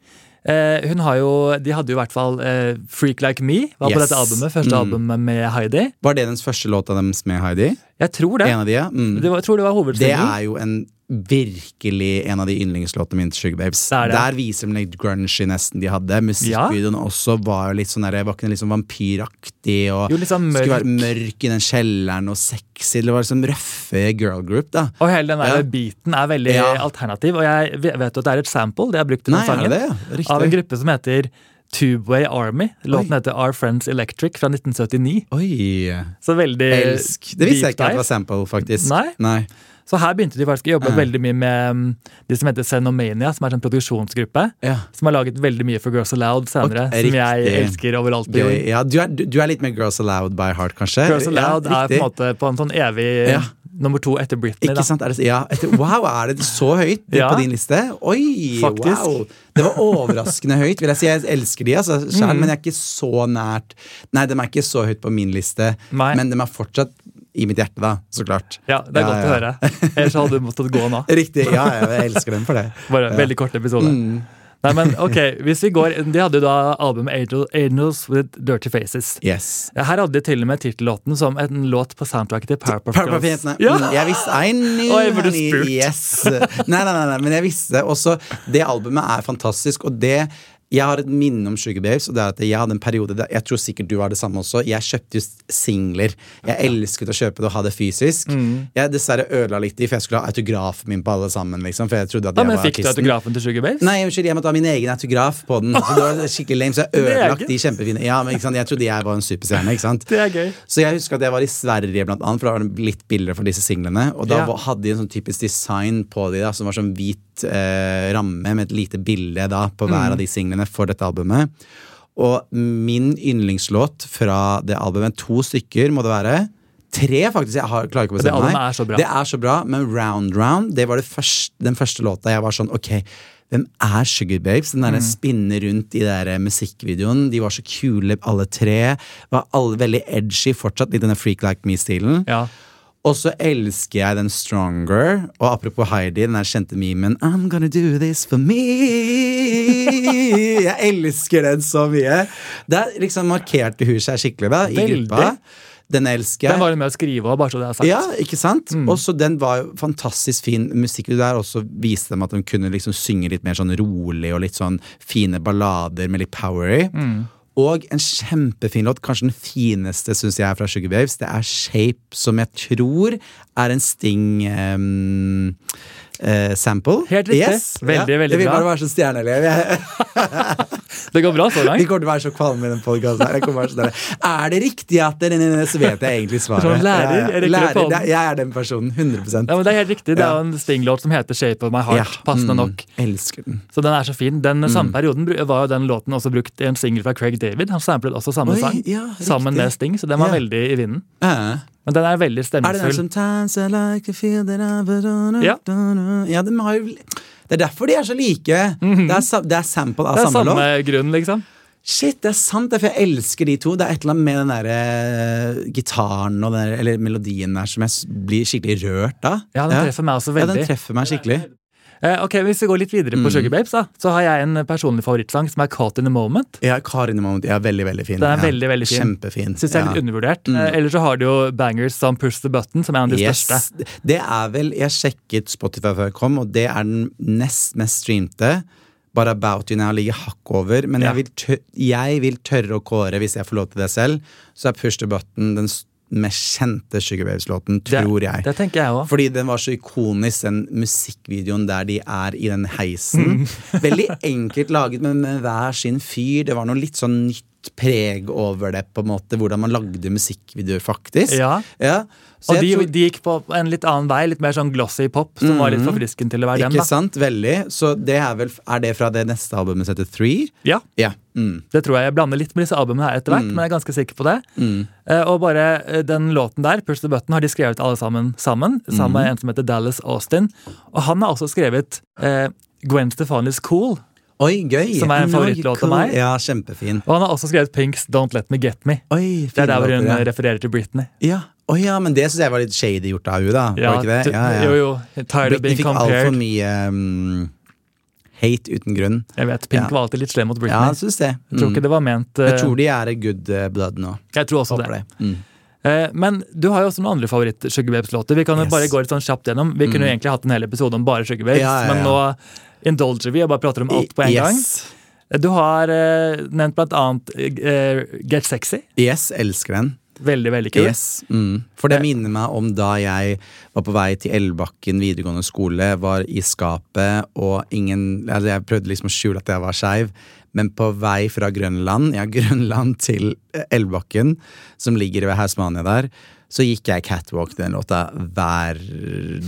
Speaker 1: Eh, hun har jo, de hadde jo i hvert fall eh, Freak Like Me var på
Speaker 2: Yes. Mm.
Speaker 1: dette albumet, første albumet med Heidi.
Speaker 2: Var det dens første låta deres med Heidi?
Speaker 1: Jeg tror det.
Speaker 2: En av de, ja? Mm.
Speaker 1: det var, jeg tror det var
Speaker 2: Det
Speaker 1: hovedsingelen.
Speaker 2: er jo en virkelig en av de yndlingslåtene mine til Sugar Babes.
Speaker 1: Det er det.
Speaker 2: Der viser de litt grungy nesten de hadde. Musikkvideoen også var jo litt sånn der, var ikke den litt sånn vampyraktig og
Speaker 1: Jo, litt sånn
Speaker 2: skulle være
Speaker 1: mørk.
Speaker 2: mørk i den kjelleren og sexy. Det var liksom røffe girl group, da.
Speaker 1: Og hele den der
Speaker 2: Ja.
Speaker 1: beaten er veldig
Speaker 2: Ja.
Speaker 1: alternativ. Og jeg ve- vet jo at det er et sample, det er brukt i den
Speaker 2: Nei, er
Speaker 1: sangen,
Speaker 2: det det? Ja, Riktig.
Speaker 1: av en gruppe som heter Tubeway Army. Låten
Speaker 2: Oi.
Speaker 1: heter Our Friends Electric fra 1979.
Speaker 2: Oi.
Speaker 1: Så veldig
Speaker 2: Elsk. Det visste
Speaker 1: deep
Speaker 2: jeg ikke at det
Speaker 1: dive.
Speaker 2: var sample, faktisk.
Speaker 1: Eh, Nei. Så her begynte de faktisk å jobbe
Speaker 2: Ja.
Speaker 1: veldig mye med um, de som heter Xenomania, som er en sånn produksjonsgruppe.
Speaker 2: Ja.
Speaker 1: Som har laget veldig mye for Girls Aloud senere,
Speaker 2: Ok,
Speaker 1: som jeg
Speaker 2: riktig.
Speaker 1: elsker overalt. på jord.
Speaker 2: Gøy. Ja, du, er, du, du er litt mer Girls Aloud by heart, kanskje?
Speaker 1: Girls Aloud
Speaker 2: ja,
Speaker 1: er på en
Speaker 2: riktig.
Speaker 1: måte på en sånn evig
Speaker 2: Ja.
Speaker 1: nummer to etter Britney.
Speaker 2: Ikke
Speaker 1: Da.
Speaker 2: sant? Er det, ja, etter, wow, er det så høyt det
Speaker 1: Ja.
Speaker 2: på din liste? Oi,
Speaker 1: Faktisk.
Speaker 2: wow! Det var overraskende høyt. vil Jeg si. Jeg elsker de, altså, selv,
Speaker 1: Mm.
Speaker 2: men jeg er ikke så nært. Nei, de er ikke så høyt på min liste,
Speaker 1: Nei.
Speaker 2: men de er fortsatt i mitt hjerte, da, så klart.
Speaker 1: Ja, Det er godt å høre. Ellers hadde du måttet gå nå.
Speaker 2: Riktig. Ja, ja, jeg elsker dem for det.
Speaker 1: Bare en veldig kort episode.
Speaker 2: Mm.
Speaker 1: Nei, men ok, hvis vi går, De hadde jo da albumet Angel- Angels with Dirty Faces.
Speaker 2: Yes.
Speaker 1: Her hadde de til og med tittellåten som en låt på soundtracket til Powerpuff
Speaker 2: Powerpuff
Speaker 1: Girls.
Speaker 2: Jentene.
Speaker 1: Ja.
Speaker 2: Mm, Jeg visste I knew
Speaker 1: Oi, jeg burde
Speaker 2: honey,
Speaker 1: spurt.
Speaker 2: Yes. Nei, nei, nei, nei, men jeg visste også Det albumet er fantastisk, og det jeg har et minne om Sugar Babes. og det er at Jeg hadde en periode, der- jeg tror sikkert du har det samme også. Jeg kjøpte jo singler. Jeg elsket å kjøpe det og ha det fysisk.
Speaker 1: Mm.
Speaker 2: Jeg dessverre ødela litt de, for jeg skulle ha autografen min på alle sammen. liksom, for jeg trodde at
Speaker 1: Ja,
Speaker 2: jeg
Speaker 1: men
Speaker 2: var
Speaker 1: Fikk du
Speaker 2: artisten.
Speaker 1: autografen til Sugar Babes?
Speaker 2: Nei, unnskyld, jeg måtte ha min egen autograf på den. Så det var skikkelig lame, så jeg ødelagt
Speaker 1: Egen?
Speaker 2: de kjempefine. Ja, men ikke sant, Jeg trodde jeg var en superstjerne. ikke sant?
Speaker 1: Det er gøy.
Speaker 2: Så jeg husker at jeg var i Sverige, blant annet, for da var det litt billigere for disse singlene. Og da
Speaker 1: Ja.
Speaker 2: var- hadde de en sånn typisk design på de da, som var sånn hvit eh, ramme med et lite bilde da, på hver
Speaker 1: Mm.
Speaker 2: av de singlene for dette albumet. Og min yndlingslåt fra det albumet, to stykker må det være, Tre, faktisk. Jeg har, klarer ikke å
Speaker 1: Det
Speaker 2: bestemme
Speaker 1: albumet
Speaker 2: meg.
Speaker 1: er så bra.
Speaker 2: Det er så bra, men Round Round det var det første, den første låta jeg var sånn Ok, hvem er Sugar Babes? Den der
Speaker 1: Mm.
Speaker 2: spinner rundt i der eh, musikkvideoen. De var så kule, alle tre. Var alle veldig edgy fortsatt, i denne Freak Like Me-stilen.
Speaker 1: Ja.
Speaker 2: Og så elsker jeg den Stronger. Og apropos Heidi, den der kjente memen I'm gonna do this for me. Jeg elsker den så mye. Der liksom markerte hun seg skikkelig da, i
Speaker 1: Veldig.
Speaker 2: gruppa. Den elsker jeg.
Speaker 1: Den var jo med å skrive òg, bare så det er sagt.
Speaker 2: Ja, ikke sant?
Speaker 1: Mm.
Speaker 2: Og så den var jo fantastisk fin musikk der, og så viste dem at de kunne liksom synge litt mer sånn rolig og litt sånn fine ballader med litt power i.
Speaker 1: Mm.
Speaker 2: Og en kjempefin låt, kanskje den fineste synes jeg er fra Sugar Babes, det er Shape, som jeg tror er en Sting ehm, eh, sample.
Speaker 1: Helt riktig. Veldig, veldig
Speaker 2: Jeg vil
Speaker 1: bra.
Speaker 2: bare være så stjerneelev. Jeg-
Speaker 1: Det går bra så
Speaker 2: Vi
Speaker 1: langt.
Speaker 2: kommer til å være så kvalme i den podkasten her. Jeg kommer til å være så der. Er det riktig at det, Så vet jeg egentlig svaret.
Speaker 1: Sånn lærer,
Speaker 2: Ja, ja.
Speaker 1: jeg rekker opp
Speaker 2: Lærer,
Speaker 1: hånden.
Speaker 2: det- jeg er den personen. 100
Speaker 1: Ja, men Det er helt riktig. Det er
Speaker 2: Ja.
Speaker 1: jo en Sting-låt som heter 'Shape of my heart'. Passende nok.
Speaker 2: Mm, elsker den.
Speaker 1: Så den er så fin. Den samme perioden bru- var jo den låten også brukt i en singel fra Craig David. Han samplet også samme
Speaker 2: Oi,
Speaker 1: sang
Speaker 2: ja,
Speaker 1: sammen
Speaker 2: riktig.
Speaker 1: med Sting, så den var
Speaker 2: Ja.
Speaker 1: veldig i vinden.
Speaker 2: Ja.
Speaker 1: Men den er veldig
Speaker 2: Er det den
Speaker 1: stemningsfull.
Speaker 2: Sometimes I like to feel that I belong
Speaker 1: Ja.
Speaker 2: ja den har jo Det er derfor de er så like. det, er, sa- det er sample av
Speaker 1: Mhm. Det er
Speaker 2: samme
Speaker 1: samme
Speaker 2: låt.
Speaker 1: grunn, liksom.
Speaker 2: Shit, det er sant, det er for jeg elsker de to. Det er et eller annet med den der eh, gitaren og den der, eller melodien der som jeg s- blir skikkelig rørt av.
Speaker 1: Ja, den treffer meg også
Speaker 2: Ja, den Mm.
Speaker 1: veldig.
Speaker 2: treffer meg skikkelig.
Speaker 1: eh, ok, Hvis vi går litt videre på Sugar Babes, da, så har jeg en personlig favorittsang som er 'Caught in a Moment'.
Speaker 2: Ja, Karin i Moment, ja, veldig, veldig fin.
Speaker 1: Den er
Speaker 2: ja.
Speaker 1: veldig, veldig fin.
Speaker 2: Kjempefin.
Speaker 1: Syns jeg er
Speaker 2: ja. Mm.
Speaker 1: litt undervurdert. Eh, Eller så har du jo bangers som 'Push the Button', som er en av de
Speaker 2: Yes.
Speaker 1: største.
Speaker 2: Det er vel Jeg sjekket Spotify før jeg kom, og det er den nest mest streamte. Bare About You Now ligger hakk over, men
Speaker 1: Ja.
Speaker 2: jeg, vil tør, jeg vil tørre å kåre, hvis jeg får lov til det selv, så er Push the Button den s- mest kjente Sugar Babes-låten,
Speaker 1: Det-
Speaker 2: tror jeg.
Speaker 1: Det tenker jeg òg.
Speaker 2: Fordi den var så ikonisk, den musikkvideoen der de er i den heisen. Veldig enkelt laget, men med hver sin fyr. Det var noe litt sånn nytt preg over det, på en måte, hvordan man lagde musikkvideoer, faktisk.
Speaker 1: Ja.
Speaker 2: Ja. Så
Speaker 1: Og de,
Speaker 2: jeg tror- Mhm.
Speaker 1: de gikk på en litt annen vei, litt mer sånn glossy pop, som var litt for frisken til å være dem.
Speaker 2: Ikke
Speaker 1: da.
Speaker 2: sant? Veldig. Så det er vel Er det fra det neste albumet som heter Three?
Speaker 1: Ja,
Speaker 2: Ja. Mm.
Speaker 1: Det tror jeg jeg blander litt med disse albumene her etter hvert, men jeg er ganske sikker på det.
Speaker 2: mm.
Speaker 1: Eh, og bare eh, den låten der, Push the Button, har de skrevet alle sammen sammen. Sammen
Speaker 2: Mhm.
Speaker 1: med en som heter Dallas Austin. Og han har også skrevet eh, Gwen Stefani's Cool.
Speaker 2: Oi, gøy!
Speaker 1: Som er en
Speaker 2: Oi,
Speaker 1: favorittlåt av
Speaker 2: cool.
Speaker 1: meg.
Speaker 2: Ja, kjempefin.
Speaker 1: Og han har også skrevet Pinks Don't Let Me Get Me.
Speaker 2: Oi,
Speaker 1: Det er der hvor hun
Speaker 2: ja.
Speaker 1: eh, refererer til Britney.
Speaker 2: ja. Oi, ja, men det syns jeg var litt shady gjort av henne, da. var ikke det?
Speaker 1: du- Jo, jo. Tired of
Speaker 2: Britney
Speaker 1: being
Speaker 2: fikk altfor
Speaker 1: compared.
Speaker 2: mye um, hate uten grunn.
Speaker 1: Jeg vet, Pink
Speaker 2: Ja.
Speaker 1: var alltid litt slem mot
Speaker 2: Ja,
Speaker 1: Britney.
Speaker 2: jeg syns det.
Speaker 1: Jeg tror ikke
Speaker 2: Mm.
Speaker 1: det var ment eh,
Speaker 2: Jeg tror de er i good eh, blood nå.
Speaker 1: Jeg tror også det.
Speaker 2: Håper det. Mm.
Speaker 1: Eh, Men du har jo også noen andre favoritt-Sugarbabes-låter. Vi kan jo
Speaker 2: Yes. Mm.
Speaker 1: bare gå litt sånn kjapt gjennom. Vi kunne jo egentlig hatt en hel episode om bare Sugarbabes,
Speaker 2: Ja, ja, ja.
Speaker 1: men nå indulger vi og bare prater om alt på en
Speaker 2: Mm. yes.
Speaker 1: gang. Du har eh, nevnt blant annet eh, Get Sexy.
Speaker 2: Yes, elsker den.
Speaker 1: Veldig, veldig kul.
Speaker 2: Yes. Mm. For det minner meg om da jeg var på vei til Elvebakken videregående skole, var i skapet, og ingen altså Jeg prøvde liksom å skjule at jeg var skeiv, men på vei fra Grønland, ja, Grønland til eh, Elvebakken, som ligger ved Hausmania der, så gikk jeg catwalk til den låta hver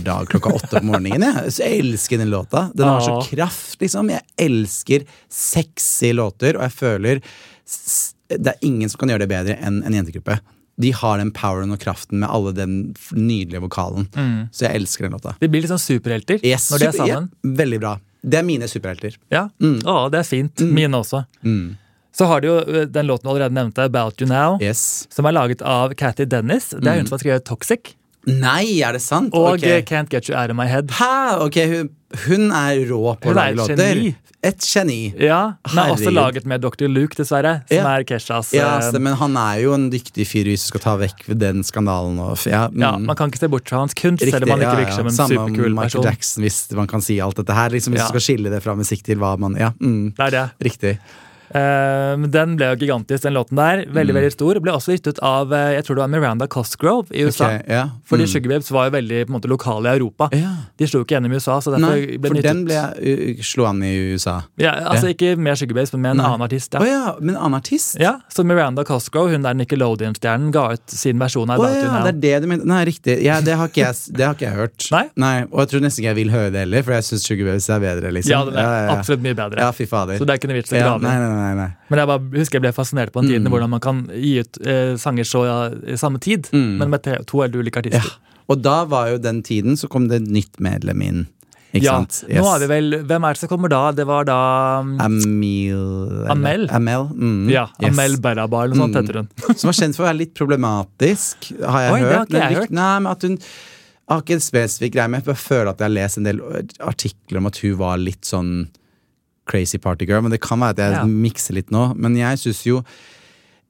Speaker 2: dag klokka åtte på morgenen. Jeg, så jeg elsker den låta. Den har så
Speaker 1: Ah.
Speaker 2: kraft, liksom. Jeg elsker sexy låter, og jeg føler s- det er ingen som kan gjøre det bedre enn en jentegruppe. De har den poweren og kraften med alle den f- nydelige vokalen. Så jeg elsker den låta.
Speaker 1: De blir litt sånn superhelter
Speaker 2: Yes,
Speaker 1: Mm. når de er
Speaker 2: super- Mm.
Speaker 1: sammen.
Speaker 2: ja, veldig bra. Det er mine superhelter.
Speaker 1: Ja, Å, det er fint. Mine også.
Speaker 2: Mm.
Speaker 1: Så har du jo eh, den låten du allerede nevnte, About You Now,
Speaker 2: Yes.
Speaker 1: som er laget av Cathy Dennis. Det er hun som har skrevet Toxic.
Speaker 2: Nei, er det sant?
Speaker 1: Og
Speaker 2: Mm. Ok.
Speaker 1: eh, Can't Get You Out of My Head.
Speaker 2: Hæ? Ok, hun, hun er rå på å
Speaker 1: Hun er
Speaker 2: lage
Speaker 1: et
Speaker 2: låter.
Speaker 1: geni.
Speaker 2: Et geni.
Speaker 1: Ja, Den er også
Speaker 2: Herregud.
Speaker 1: laget med Dr. Luke, dessverre, som
Speaker 2: Ja.
Speaker 1: er Keshas eh,
Speaker 2: Ja, stemmer, men han er jo en dyktig fyr hvis du skal ta vekk den skandalen. Og, f- ja, mm.
Speaker 1: Ja, Man kan ikke se bort fra hans kunst, selv om han ikke
Speaker 2: ja,
Speaker 1: virker som
Speaker 2: ja.
Speaker 1: en
Speaker 2: Samme om
Speaker 1: superkul person.
Speaker 2: Michael Jackson, hvis man kan si alt dette her. Liksom, hvis
Speaker 1: Ja.
Speaker 2: du skal skille det fra musikk til hva man Ja, mm,
Speaker 1: Det er det.
Speaker 2: riktig.
Speaker 1: Eh, men den ble jo gigantisk, den låten der. Veldig
Speaker 2: Mm.
Speaker 1: veldig stor. Ble også gitt ut av eh, jeg tror det var Miranda Cosgrove i USA.
Speaker 2: Ok, ja.
Speaker 1: Fordi
Speaker 2: Mm.
Speaker 1: Sugar Babes var jo veldig på en måte, lokale i Europa.
Speaker 2: Ja.
Speaker 1: De slo jo ikke gjennom i USA. så derfor
Speaker 2: Nei,
Speaker 1: ble
Speaker 2: for
Speaker 1: den gitt
Speaker 2: den
Speaker 1: ut.
Speaker 2: ble jeg, u- u- slo an i USA.
Speaker 1: ja, altså Ikke med Sugar Babes, men med en
Speaker 2: Nei.
Speaker 1: annen artist.
Speaker 2: Å
Speaker 1: Ja.
Speaker 2: ja, men annen artist?
Speaker 1: Ja, så Miranda Cosgrove, hun der Nickelodeon-stjernen, ga ut sin versjon av
Speaker 2: Å
Speaker 1: About You
Speaker 2: ja,
Speaker 1: Now.
Speaker 2: det er det du mener. Nei, riktig. Ja, det, har ikke jeg, s- det har ikke jeg hørt.
Speaker 1: Nei?
Speaker 2: Og jeg tror nesten ikke jeg vil høre det heller, for jeg syns Sugar Babes er bedre. liksom
Speaker 1: Ja, den er
Speaker 2: ja, ja.
Speaker 1: absolutt mye bedre.
Speaker 2: Ja, fy fader.
Speaker 1: Så det er ikke noe vits i å
Speaker 2: Ja,
Speaker 1: grave.
Speaker 2: nei, nei, nei, nei, nei.
Speaker 1: Men jeg bare husker jeg ble fascinert på den tiden
Speaker 2: Mm.
Speaker 1: hvordan man kan gi ut eh, sanger så ja, i samme tid,
Speaker 2: Mm.
Speaker 1: men med te- to helt ulike
Speaker 2: Ja.
Speaker 1: artister.
Speaker 2: Og da var jo den tiden så kom det et nytt medlem inn. Ikke
Speaker 1: Ja,
Speaker 2: sant?
Speaker 1: Nå er vi vel Hvem er det som kommer da? Det var da mm,
Speaker 2: Amel
Speaker 1: Amel?
Speaker 2: Amel, mm,
Speaker 1: Ja,
Speaker 2: yes.
Speaker 1: Amel Berrabar eller noe sånt
Speaker 2: Mm.
Speaker 1: heter hun.
Speaker 2: Som var kjent for å være litt problematisk, har jeg
Speaker 1: Oi, det har
Speaker 2: hørt.
Speaker 1: ikke
Speaker 2: men
Speaker 1: jeg
Speaker 2: lykt-
Speaker 1: hørt.
Speaker 2: Nei, men at hun jeg har ikke en spesifikk greie, men jeg bare føler at jeg har lest en del artikler om at hun var litt sånn crazy party girl. Men det kan være at jeg
Speaker 1: Ja.
Speaker 2: mikser litt nå. Men jeg syns jo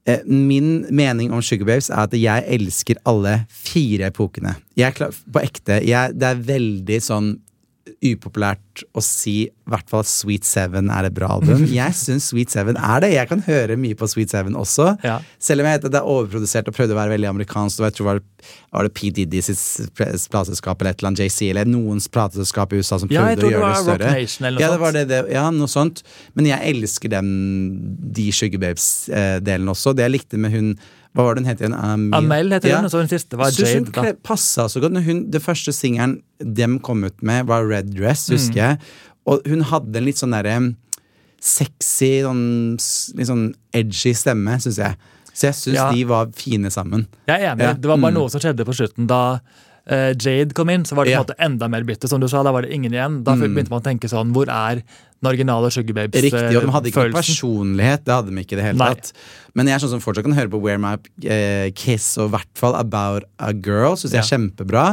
Speaker 2: eh, Min mening om Sugar Babes er at jeg elsker alle fire epokene. Jeg klar, på ekte. Jeg, det er veldig sånn upopulært å si i hvert fall at Sweet Seven er et bra album. Jeg syns Sweet Seven er det. Jeg kan høre mye på Sweet Seven også.
Speaker 1: Ja.
Speaker 2: Selv om jeg vet at det er overprodusert og prøvde å være veldig amerikansk. Og jeg tror var det, var det P. Diddy sitt pre- plateselskap eller et eller annet JC eller noens plateselskap i USA som
Speaker 1: ja, jeg
Speaker 2: prøvde å
Speaker 1: tror det
Speaker 2: gjøre
Speaker 1: var
Speaker 2: det
Speaker 1: Rock
Speaker 2: større.
Speaker 1: Nation eller noe
Speaker 2: Ja, det
Speaker 1: sånt.
Speaker 2: var det, det, ja, noe sånt. Men jeg elsker dem, de Sugar Babes-delen også. Det jeg likte med hun Hva var det hun het igjen? Amel?
Speaker 1: Amel heter
Speaker 2: Mm. Ja.
Speaker 1: hun, og så den siste var
Speaker 2: Synes
Speaker 1: Jade.
Speaker 2: hun
Speaker 1: da.
Speaker 2: kle- passa så godt. Når hun, det første singelen dem kom ut med, var Red Dress,
Speaker 1: Mm.
Speaker 2: husker jeg. Og hun hadde en litt sånn derre um, sexy, sånn, s- litt sånn edgy stemme, syns jeg. Så jeg syns
Speaker 1: Ja.
Speaker 2: de var fine sammen.
Speaker 1: Jeg er enig.
Speaker 2: Ja,
Speaker 1: Det var bare
Speaker 2: mm.
Speaker 1: noe som skjedde på slutten. Da eh, Jade kom inn, så var det på en
Speaker 2: Ja. Mm.
Speaker 1: måte enda mer bytte. Som du sa, da var det ingen igjen. Da begynte man å tenke sånn Hvor er den originale Sugar eh,
Speaker 2: Riktig, og de hadde ikke
Speaker 1: Babes-følelsen?
Speaker 2: noen personlighet. Det hadde de ikke i det hele
Speaker 1: Nei.
Speaker 2: tatt. Men jeg er sånn som fortsatt kan høre på Wear My eh, Kiss og i hvert fall About A Girl. Syns jeg er kjempebra.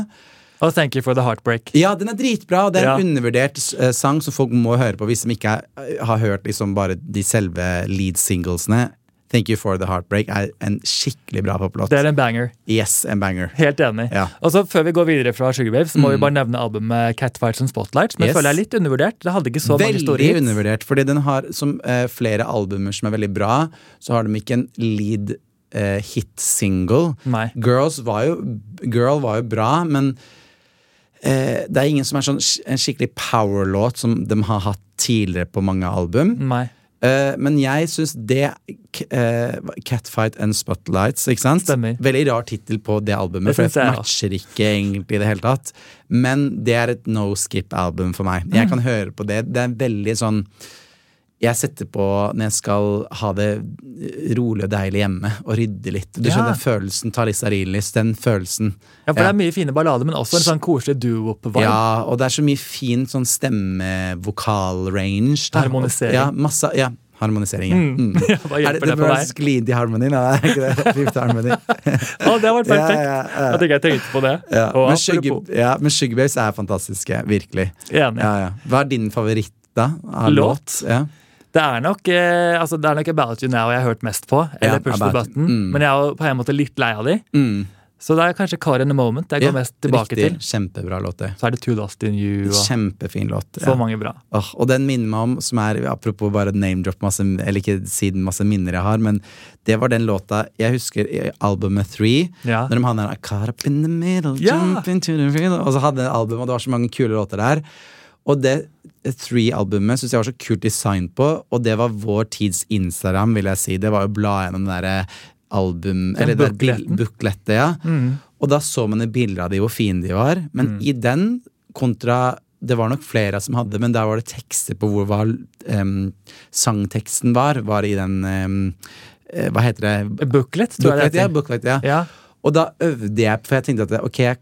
Speaker 1: Og så tenker jeg for The Heartbreak.
Speaker 2: Ja, den er dritbra, og det er en
Speaker 1: Ja.
Speaker 2: undervurdert eh, sang som folk må høre på hvis de ikke er, har hørt liksom bare de selve lead singlesene. Thank You For The Heartbreak er en skikkelig bra poplåt.
Speaker 1: Det er en banger.
Speaker 2: Yes, en banger.
Speaker 1: Helt enig.
Speaker 2: Ja. Mm.
Speaker 1: Og så Før vi går videre fra Sugar Babes, må vi bare nevne albumet Catfights and Spotlights. Men jeg
Speaker 2: Yes.
Speaker 1: føler jeg er litt undervurdert. Det hadde ikke så mange
Speaker 2: Veldig
Speaker 1: store hits.
Speaker 2: undervurdert, fordi den har, som eh, flere albumer som er veldig bra, så har de ikke en lead eh, hit single.
Speaker 1: Nei.
Speaker 2: Girls var jo, Girl var jo bra, men eh, det er ingen som er sånn sk- en skikkelig power-låt som de har hatt tidligere på mange album.
Speaker 1: Nei.
Speaker 2: Eh, men jeg syns det k- eh, Catfight and Spotlights, ikke sant?
Speaker 1: Stemmer.
Speaker 2: Veldig rar tittel på det
Speaker 1: Det
Speaker 2: albumet, for
Speaker 1: syns
Speaker 2: det
Speaker 1: jeg
Speaker 2: matcher ikke egentlig i det hele tatt. Men det er et no skip-album for meg.
Speaker 1: Mm.
Speaker 2: Jeg kan høre på det. Det er veldig sånn jeg setter på når jeg skal ha det rolig og deilig hjemme og rydde litt. Du
Speaker 1: Ja.
Speaker 2: skjønner følelsen. Tarisa Rilis, den følelsen.
Speaker 1: Ja, for Det er mye fine ballader, men også en sånn koselig duo-vibe.
Speaker 2: Ja, og det er så mye fin sånn stemme-vokal-range. da.
Speaker 1: Harmonisering.
Speaker 2: Ja, masse, ja, harmonisering. Ja. Mm.
Speaker 1: Hva hjelper det, på
Speaker 2: var
Speaker 1: deg?
Speaker 2: Glid i harmoni, nei, det er ikke det. Fifth harmony.
Speaker 1: Å, det har vært
Speaker 2: Ja,
Speaker 1: perfekt!
Speaker 2: ja, ja.
Speaker 1: Jeg tenker jeg tenkte på det.
Speaker 2: Ja,
Speaker 1: Og
Speaker 2: men, Sugar,
Speaker 1: apropos,
Speaker 2: ja, men Sugar Babes er fantastiske, virkelig.
Speaker 1: enig.
Speaker 2: Ja, ja. Hva er din favoritt, da? av
Speaker 1: Låt?
Speaker 2: Ja.
Speaker 1: Det er nok eh, altså det er nok About You Now jeg har hørt mest på. Eller
Speaker 2: Ja,
Speaker 1: Push the
Speaker 2: About You.
Speaker 1: Button.
Speaker 2: Mm.
Speaker 1: Men jeg er jo på en måte litt lei av de.
Speaker 2: Mm.
Speaker 1: Så det er kanskje Car in a Moment jeg går
Speaker 2: Ja,
Speaker 1: mest tilbake
Speaker 2: riktig.
Speaker 1: til.
Speaker 2: Kjempebra låt, det.
Speaker 1: Så er det Too Lost in You og
Speaker 2: Kjempefin låt.
Speaker 1: så mange bra.
Speaker 2: Åh, og den minner meg om, som er apropos bare name-drop, masse, eller ikke siden masse minner jeg har, men det var den låta jeg husker i albumet Three.
Speaker 1: Ja.
Speaker 2: Når de hadde den der, Caught up in the middle,
Speaker 1: Ja!
Speaker 2: jump into the middle, Og så hadde den albumet, og det var så mange kule låter der. Og det Three-albumet syns jeg var så kult design på, og det var vår tids Instagram, vil jeg si. Det var jo bla gjennom den derre album... Eller det bil-
Speaker 1: bukletten.
Speaker 2: buklettet,
Speaker 1: Mm.
Speaker 2: ja. Og da så man et bilde av de hvor fine de var. Men i den kontra Det var nok flere som hadde, men der var det tekster på hvor hva, em, sangteksten var. Var i den em, eh, Hva heter det?
Speaker 1: Booklet, tror
Speaker 2: Booklet, ja,
Speaker 1: jeg det heter.
Speaker 2: booklet, ja.
Speaker 1: Ja.
Speaker 2: Og da øvde jeg, for jeg tenkte at ok, jeg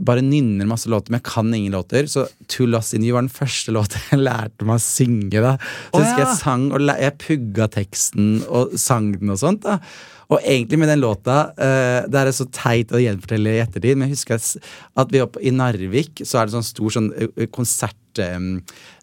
Speaker 2: bare nynner masse låter, men jeg kan ingen låter. Så To Lost In You var den første låta jeg lærte meg å synge. da
Speaker 1: Å,
Speaker 2: Så husker
Speaker 1: ja.
Speaker 2: jeg sang og læ- jeg pugga teksten og sang den og sånt. da og egentlig med den låta eh, Det er så teit å gjenfortelle i ettertid, men jeg husker at s- at vi var på- i Narvik, så er det sånn stor sånn ø- ø- konsert eh,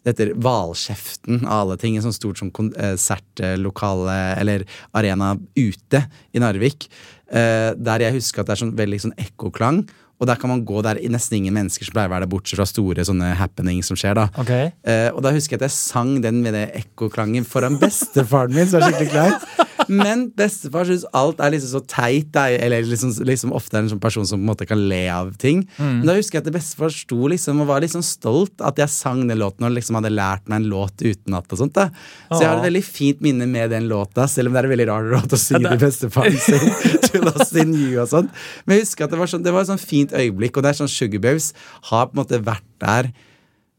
Speaker 2: Det heter Hvalkjeften av alle ting. En sånn stort sånn konsertlokale eller arena ute i Narvik. eh, Der jeg husker at det er sånn veldig sånn ekkoklang. Og der kan man gå der i nesten ingen mennesker som pleier å være der, bortsett fra store sånne happenings som skjer. da
Speaker 1: Ok.
Speaker 2: Eh, og da husker jeg at jeg sang den med det ekkoklangen foran bestefaren min. som er skikkelig kleint. Men bestefar syns alt er liksom så teit, da, eller liksom, liksom ofte er en sånn person som på en måte kan le av ting.
Speaker 1: Mm.
Speaker 2: Men da husker jeg at det bestefar sto liksom og var liksom stolt at jeg sang den låten og liksom hadde lært meg en låt utenat og sånt. da Så jeg har et
Speaker 1: Åh.
Speaker 2: veldig fint minne med den låta, selv om det er en veldig rar låt å synge
Speaker 1: Ja, det-
Speaker 2: til bestefaren sin. to lost in you og sånt. Men jeg husker at det var, sånn, det var et sånn fint øyeblikk, og det er sånn Sugar Babes har på en måte vært der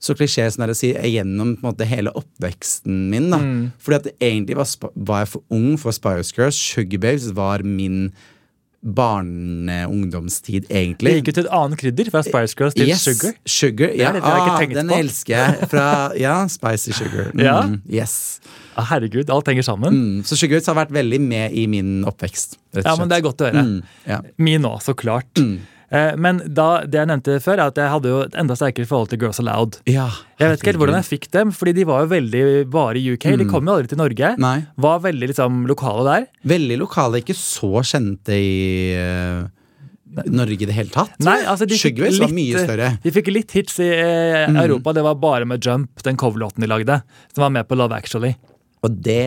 Speaker 2: så klisjé som det er å si, er gjennom på en måte, hele oppveksten min. da.
Speaker 1: Mm.
Speaker 2: Fordi at det egentlig var, spa- var jeg for ung for Spice Girls. Sugar Babes var min barneungdomstid,
Speaker 1: Det
Speaker 2: egentlig.
Speaker 1: gikk jo til et annet krydder, fra Spice Girls til
Speaker 2: Yes,
Speaker 1: Sugar.
Speaker 2: Sugar, ja,
Speaker 1: er litt jeg ikke
Speaker 2: ah,
Speaker 1: tenkte
Speaker 2: den
Speaker 1: på.
Speaker 2: elsker jeg. Fra, ja, Spicy Sugar. Mm,
Speaker 1: Ja.
Speaker 2: Yes.
Speaker 1: Ah, herregud, alt henger sammen.
Speaker 2: Mm, så Sugar Babes har vært veldig med i min oppvekst. Rett og
Speaker 1: Ja, men
Speaker 2: slett.
Speaker 1: det er godt å høre.
Speaker 2: Mm, ja.
Speaker 1: Min òg, så klart. Eh, Men da, det jeg nevnte før, er at jeg hadde jo et enda sterkere forhold til Girls Aloud.
Speaker 2: Ja,
Speaker 1: Jeg vet ikke helt hvordan jeg fikk dem, fordi de var jo veldig bare i UK. De kom jo aldri til Norge.
Speaker 2: Mm. Nei.
Speaker 1: Var veldig liksom lokale der.
Speaker 2: Veldig lokale, ikke så kjente i eh, Norge i det hele tatt.
Speaker 1: Nei, altså de fikk
Speaker 2: Sugarways var
Speaker 1: litt-
Speaker 2: mye større. Mm.
Speaker 1: De fikk litt hits i eh, Europa. Det var bare med Jump, den coverlåten de lagde. Som var med på Love Actually.
Speaker 2: Og det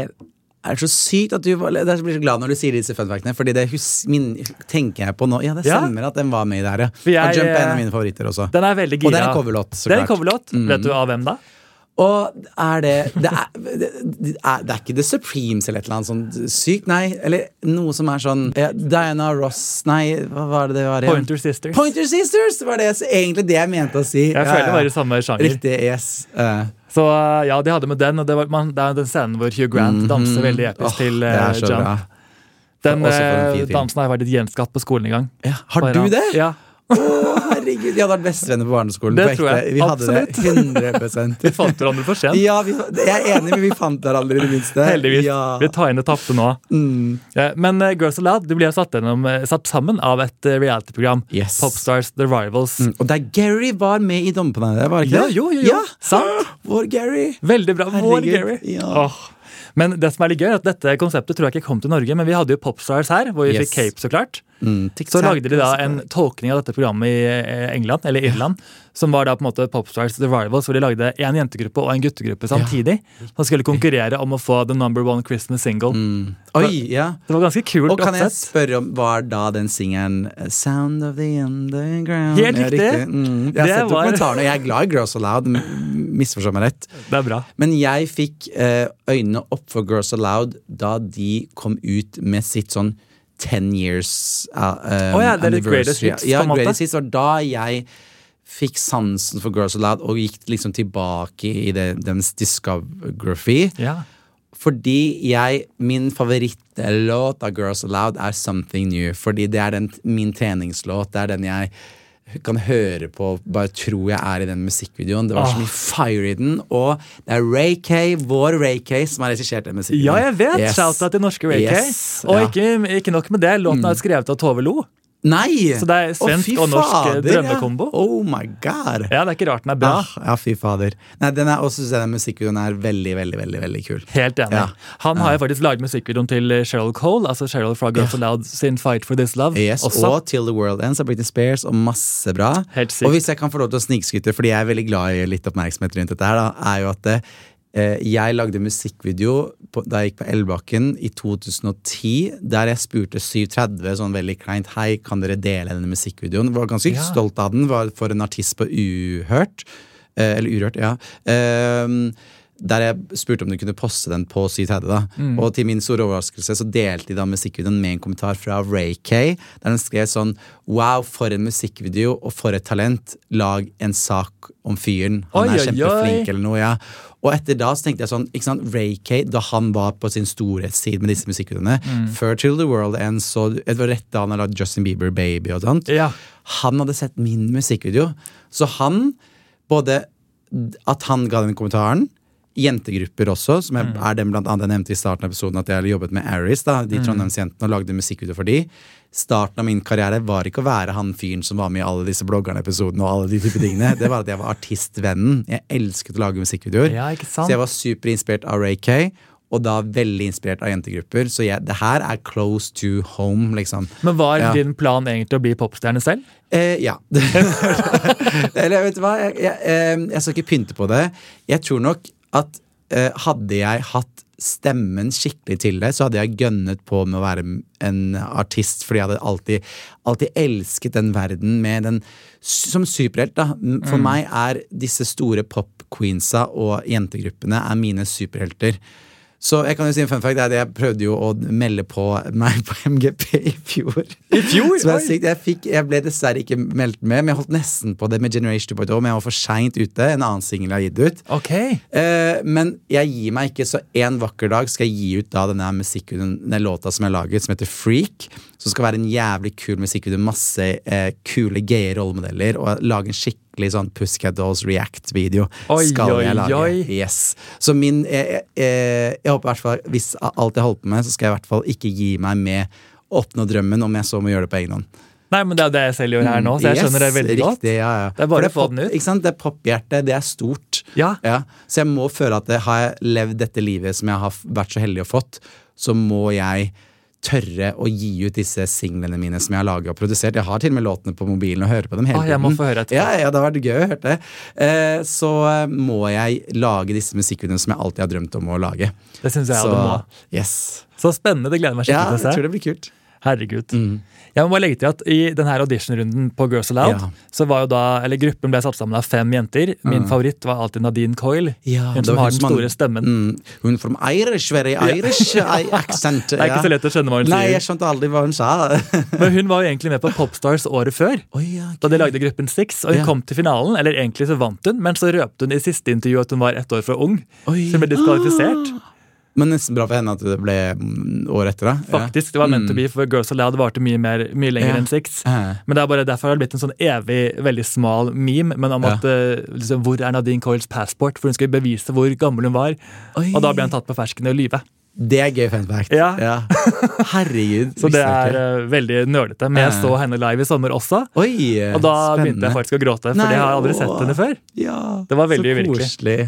Speaker 2: er så sykt at du Jeg blir så glad når du sier disse fun factene, fordi det hus, min, tenker jeg på nå. Ja, det
Speaker 1: Ja.
Speaker 2: stemmer at den var med der, ja.
Speaker 1: For jeg,
Speaker 2: og Jump er en
Speaker 1: eh,
Speaker 2: av mine favoritter også.
Speaker 1: Den er veldig
Speaker 2: Og det
Speaker 1: gira.
Speaker 2: er en coverlåt, så
Speaker 1: Det er en
Speaker 2: klart. Mm.
Speaker 1: coverlåt. Vet du av hvem da?
Speaker 2: Og er det det er, det, det er, det er ikke The Supremes eller et eller annet sånt sykt, nei. Eller noe som er sånn ja, Diana Ross Nei, hva var det det var igjen?
Speaker 1: Pointer Sisters.
Speaker 2: Pointer Sisters! var det så egentlig det jeg mente å si.
Speaker 1: Jeg føler det var i samme sjanger.
Speaker 2: Riktig. Yes. Eh,
Speaker 1: Så ja, de hadde med den, og det, var, man, det er den scenen hvor Hugh Grant danser veldig episk
Speaker 2: Mhm. åh,
Speaker 1: til
Speaker 2: det
Speaker 1: eh,
Speaker 2: er så
Speaker 1: Jump.
Speaker 2: bra.
Speaker 1: Den
Speaker 2: Også for en
Speaker 1: eh,
Speaker 2: fin film.
Speaker 1: dansen har vært litt gjenskatt på skolen en gang.
Speaker 2: Ja, har
Speaker 1: Bare
Speaker 2: du
Speaker 1: han-
Speaker 2: det?
Speaker 1: Ja.
Speaker 2: Å, herregud, Vi hadde vært bestevenner på barneskolen.
Speaker 1: Det
Speaker 2: på
Speaker 1: tror
Speaker 2: ekte.
Speaker 1: jeg.
Speaker 2: Vi hadde det 100
Speaker 1: Vi fant hverandre for sent.
Speaker 2: Ja, vi, Jeg er enig, men vi fant hverandre i det minste.
Speaker 1: Heldigvis.
Speaker 2: Ja. Mm.
Speaker 1: Vi tar inn det tapte nå. Eh, Men eh, Girls Aloud de ble satt, gjennom, eh, satt sammen av et eh, reality-program.
Speaker 2: Yes.
Speaker 1: Popstars The Rivals.
Speaker 2: Mm, Og der Gary var med i dommepanelet, var det ikke
Speaker 1: Ja,
Speaker 2: det?
Speaker 1: jo, jo, jo.
Speaker 2: Ja.
Speaker 1: Sant.
Speaker 2: Vår Gary.
Speaker 1: Veldig bra. Vår
Speaker 2: Herregud,
Speaker 1: Gary.
Speaker 2: ja.
Speaker 1: Åh. Men det som er litt gøy er at dette konseptet tror jeg ikke kom til Norge, men vi hadde jo Popstars her, hvor vi
Speaker 2: Yes.
Speaker 1: fikk cape, så klart.
Speaker 2: Mm,
Speaker 1: Så lagde de da en tolkning av dette programmet i eh, England, eller Irland, som var da på en måte Popstars The Rivals, hvor de lagde en jentegruppe og en guttegruppe samtidig, som skulle konkurrere om å få the number one Christmas single.
Speaker 2: Oi, ja.
Speaker 1: Det var ganske kult
Speaker 2: Mm. Og kan jeg
Speaker 1: oppsett.
Speaker 2: spørre om Var da den singelen eh, 'Sound of the Underground'?
Speaker 1: Helt
Speaker 2: Ja,
Speaker 1: riktig.
Speaker 2: Mm. Jeg
Speaker 1: Det
Speaker 2: har sett
Speaker 1: var-
Speaker 2: dokumentaren, og jeg er glad i Girls Aloud. m- Misforstå meg rett.
Speaker 1: Det er bra.
Speaker 2: Men jeg fikk eh, øynene opp for Girls Aloud da de kom ut med sitt sånn Ten years uh, um,
Speaker 1: Å ja, det er litt
Speaker 2: anniversary.
Speaker 1: greatest hits, på
Speaker 2: Ja,
Speaker 1: en måte.
Speaker 2: greatest hits var da jeg fikk sansen for Girls Aloud og gikk liksom tilbake i det, deres discography.
Speaker 1: Ja.
Speaker 2: Fordi jeg, min favorittlåt av Girls Aloud er Something New. Fordi det er den, min treningslåt. Det er den jeg kan høre på og bare tro jeg er i den musikkvideoen. Det var så
Speaker 1: Ah.
Speaker 2: mye fire i den. Og det er Ray Kay, vår Ray Kay, som har regissert den musikkvideoen.
Speaker 1: ja, jeg vet!
Speaker 2: Yes.
Speaker 1: Shout-out til norske Ray Kay.
Speaker 2: Yes,
Speaker 1: Og
Speaker 2: ja. Mm.
Speaker 1: ikke, ikke nok med det, låten er skrevet av Tove Lo.
Speaker 2: Nei!
Speaker 1: Så det er
Speaker 2: Å,
Speaker 1: svensk
Speaker 2: fy
Speaker 1: og norsk, eh,
Speaker 2: fader, ja.
Speaker 1: drømmekombo.
Speaker 2: Oh my god!
Speaker 1: Ja, det er ikke rart den er bra.
Speaker 2: Ah, ja, fy fader. Nei, den er, også synes jeg den musikkvideoen er veldig, veldig, veldig, veldig kul.
Speaker 1: Helt enig.
Speaker 2: Ja.
Speaker 1: Han har jo faktisk laget musikkvideoen til eh, Cheryl Cole, altså Cheryl fra Girls Aloud sin Fight for This Love.
Speaker 2: Yes,
Speaker 1: også.
Speaker 2: og Till the World Ends av Britney Spears og masse bra.
Speaker 1: Helt sykt.
Speaker 2: Og hvis jeg kan få lov til å snikskyte, fordi jeg er veldig glad i litt oppmerksomhet rundt dette her, da, er jo at det, eh, jeg lagde musikkvideo på, da jeg gikk på Elbakken i 2010, der jeg spurte 730 sånn veldig kleint Hei, kan dere dele denne musikkvideoen? Var ganske
Speaker 1: Ja.
Speaker 2: stolt av den, var for en artist på Uhørt. Eh, eller Urørt, ja. Ehm, der jeg spurte om du kunne poste den på 730. da
Speaker 1: Mm.
Speaker 2: Og til min store overraskelse så delte de da musikkvideoen med en kommentar fra Ray Kay, der hun skrev sånn Wow, for en musikkvideo, og for et talent. Lag en sak om fyren. Han
Speaker 1: Oi,
Speaker 2: er
Speaker 1: oi, oi.
Speaker 2: kjempeflink, eller noe. ja Og etter da så tenkte jeg sånn ikke sant, Ray Kay, da han var på sin storhetstid med disse musikkvideoene
Speaker 1: Mm.
Speaker 2: Før Till The World Ends, og det var rett da han hadde lagd Justin Bieber Baby og sånt.
Speaker 1: Ja.
Speaker 2: Han hadde sett min musikkvideo. Så han, både at han ga den kommentaren, jentegrupper også, som
Speaker 1: Mm.
Speaker 2: er, er den blant annet jeg nevnte i starten av episoden at jeg hadde jobbet med Aris, da, de
Speaker 1: Mm.
Speaker 2: trondheimsjentene, og lagde musikkvideo for de. Starten av min karriere var ikke å være han fyren som var med i alle disse bloggerne-episodene og alle de type tingene. Det var at jeg var artistvennen. Jeg elsket å lage musikkvideoer.
Speaker 1: Ja, ikke sant?
Speaker 2: Så jeg var superinspirert av Ray Kay. Og da veldig inspirert av jentegrupper. Så jeg, det her er close to home, liksom.
Speaker 1: Men var
Speaker 2: Ja.
Speaker 1: din plan egentlig å bli popstjerne selv?
Speaker 2: Eh, ja. Eller vet du hva, jeg, jeg, eh, jeg skal ikke pynte på det. Jeg tror nok at eh, hadde jeg hatt stemmen skikkelig til det, så hadde jeg gønnet på med å være m- en artist, fordi jeg hadde alltid, alltid elsket den verden med den Som superhelt, da. M- For meg er disse store pop-queensa og jentegruppene er mine superhelter. Så jeg kan jo si en fun fact, det er det jeg prøvde jo å melde på meg på MGP i fjor.
Speaker 1: I fjor?
Speaker 2: Som er
Speaker 1: Oi.
Speaker 2: sykt. Jeg, fikk, jeg ble dessverre ikke meldt med, men jeg holdt nesten på det med Generation 2.0, men jeg var for seint ute. En annen singel jeg har gitt ut.
Speaker 1: Ok.
Speaker 2: Eh, men jeg gir meg ikke, så en vakker dag skal jeg gi ut da denne musikkvideoen, denne låta som jeg har laget, som heter Freak. Som skal være en jævlig kul musikkvideo, masse eh, kule, gaye rollemodeller, og lage en skikkelig sånn Pussycat Dolls React-video.
Speaker 1: Oi,
Speaker 2: Skal
Speaker 1: oi,
Speaker 2: jeg lage.
Speaker 1: oi.
Speaker 2: Yes. Så min eh, eh, Jeg håper i hvert fall, hvis alt jeg holder på med, så skal jeg i hvert fall ikke gi meg med å oppnå drømmen, om jeg så må gjøre det på egen hånd.
Speaker 1: Nei, men det er jo det jeg selv gjør her nå, så jeg
Speaker 2: Mm, Yes,
Speaker 1: skjønner det veldig
Speaker 2: riktig,
Speaker 1: godt.
Speaker 2: Ja, ja.
Speaker 1: Det er bare
Speaker 2: For
Speaker 1: å få den
Speaker 2: pop-
Speaker 1: ut.
Speaker 2: Ikke sant? Det er pophjerte, det er stort.
Speaker 1: Ja.
Speaker 2: Ja, Så jeg må føle at det, har jeg levd dette livet som jeg har f- vært så heldig å fått, så må jeg tørre å gi ut disse singlene mine som jeg har laget og produsert. Jeg har til og med låtene på mobilen og hører på dem hele
Speaker 1: Å, jeg må få høre etterpå.
Speaker 2: Ja, ja, det har vært gøy å høre det. Eh, så eh, må jeg lage disse musikkvideoene som jeg alltid har drømt om å lage.
Speaker 1: Det syns jeg
Speaker 2: så,
Speaker 1: du må.
Speaker 2: yes.
Speaker 1: Så spennende. Det gleder jeg meg
Speaker 2: Ja,
Speaker 1: skikkelig
Speaker 2: jeg tror
Speaker 1: til å se.
Speaker 2: det Mm. blir kult.
Speaker 1: Herregud. Jeg må bare legge til at I denne auditionrunden på Girls Aloud
Speaker 2: Ja. Mm.
Speaker 1: så var jo da, eller gruppen ble satt sammen av fem jenter. Min favoritt var alltid Nadine Coyle.
Speaker 2: Ja,
Speaker 1: hun
Speaker 2: det
Speaker 1: som
Speaker 2: var
Speaker 1: har
Speaker 2: hun
Speaker 1: den
Speaker 2: som
Speaker 1: store
Speaker 2: hadde-
Speaker 1: stemmen.
Speaker 2: Mm, hun from Irish, very Irish I- accent.
Speaker 1: Det er ikke så lett å skjønne hva hun
Speaker 2: Nei, jeg
Speaker 1: sier.
Speaker 2: skjønte aldri hva hun sa.
Speaker 1: Men hun var jo egentlig med på Popstars året før. Da de lagde gruppen Six, og hun
Speaker 2: Ja.
Speaker 1: kom til finalen. Eller egentlig så vant hun, men så røpte hun i siste intervju at hun var ett år for ung.
Speaker 2: Oi.
Speaker 1: Så hun ble diskvalifisert.
Speaker 2: Men nesten bra for henne at det ble mm, året etter, da. Ja. Mm.
Speaker 1: Faktisk, Det var meant to be, for Girls Aloud varte mye, mer, mye lenger
Speaker 2: Ja.
Speaker 1: enn Six.
Speaker 2: Ja.
Speaker 1: Men det er bare derfor har det blitt en sånn evig, veldig smal meme men om
Speaker 2: Ja.
Speaker 1: at eh, liksom, hvor er Nadine Coyles passport, for hun skulle bevise hvor gammel hun var.
Speaker 2: Oi.
Speaker 1: Og da ble han tatt på fersken i å lyve.
Speaker 2: Det er gøy fun fact.
Speaker 1: Ja.
Speaker 2: Herregud.
Speaker 1: Så det
Speaker 2: visste
Speaker 1: er
Speaker 2: jeg ikke.
Speaker 1: eh, veldig nølete. Men jeg
Speaker 2: Ja.
Speaker 1: så henne live i sommer også,
Speaker 2: Oi,
Speaker 1: og da
Speaker 2: spennende.
Speaker 1: begynte jeg faktisk å gråte. For
Speaker 2: Nei,
Speaker 1: det har jeg aldri
Speaker 2: åh.
Speaker 1: sett henne før.
Speaker 2: ja,
Speaker 1: Det var veldig
Speaker 2: så
Speaker 1: uvirkelig.
Speaker 2: koselig.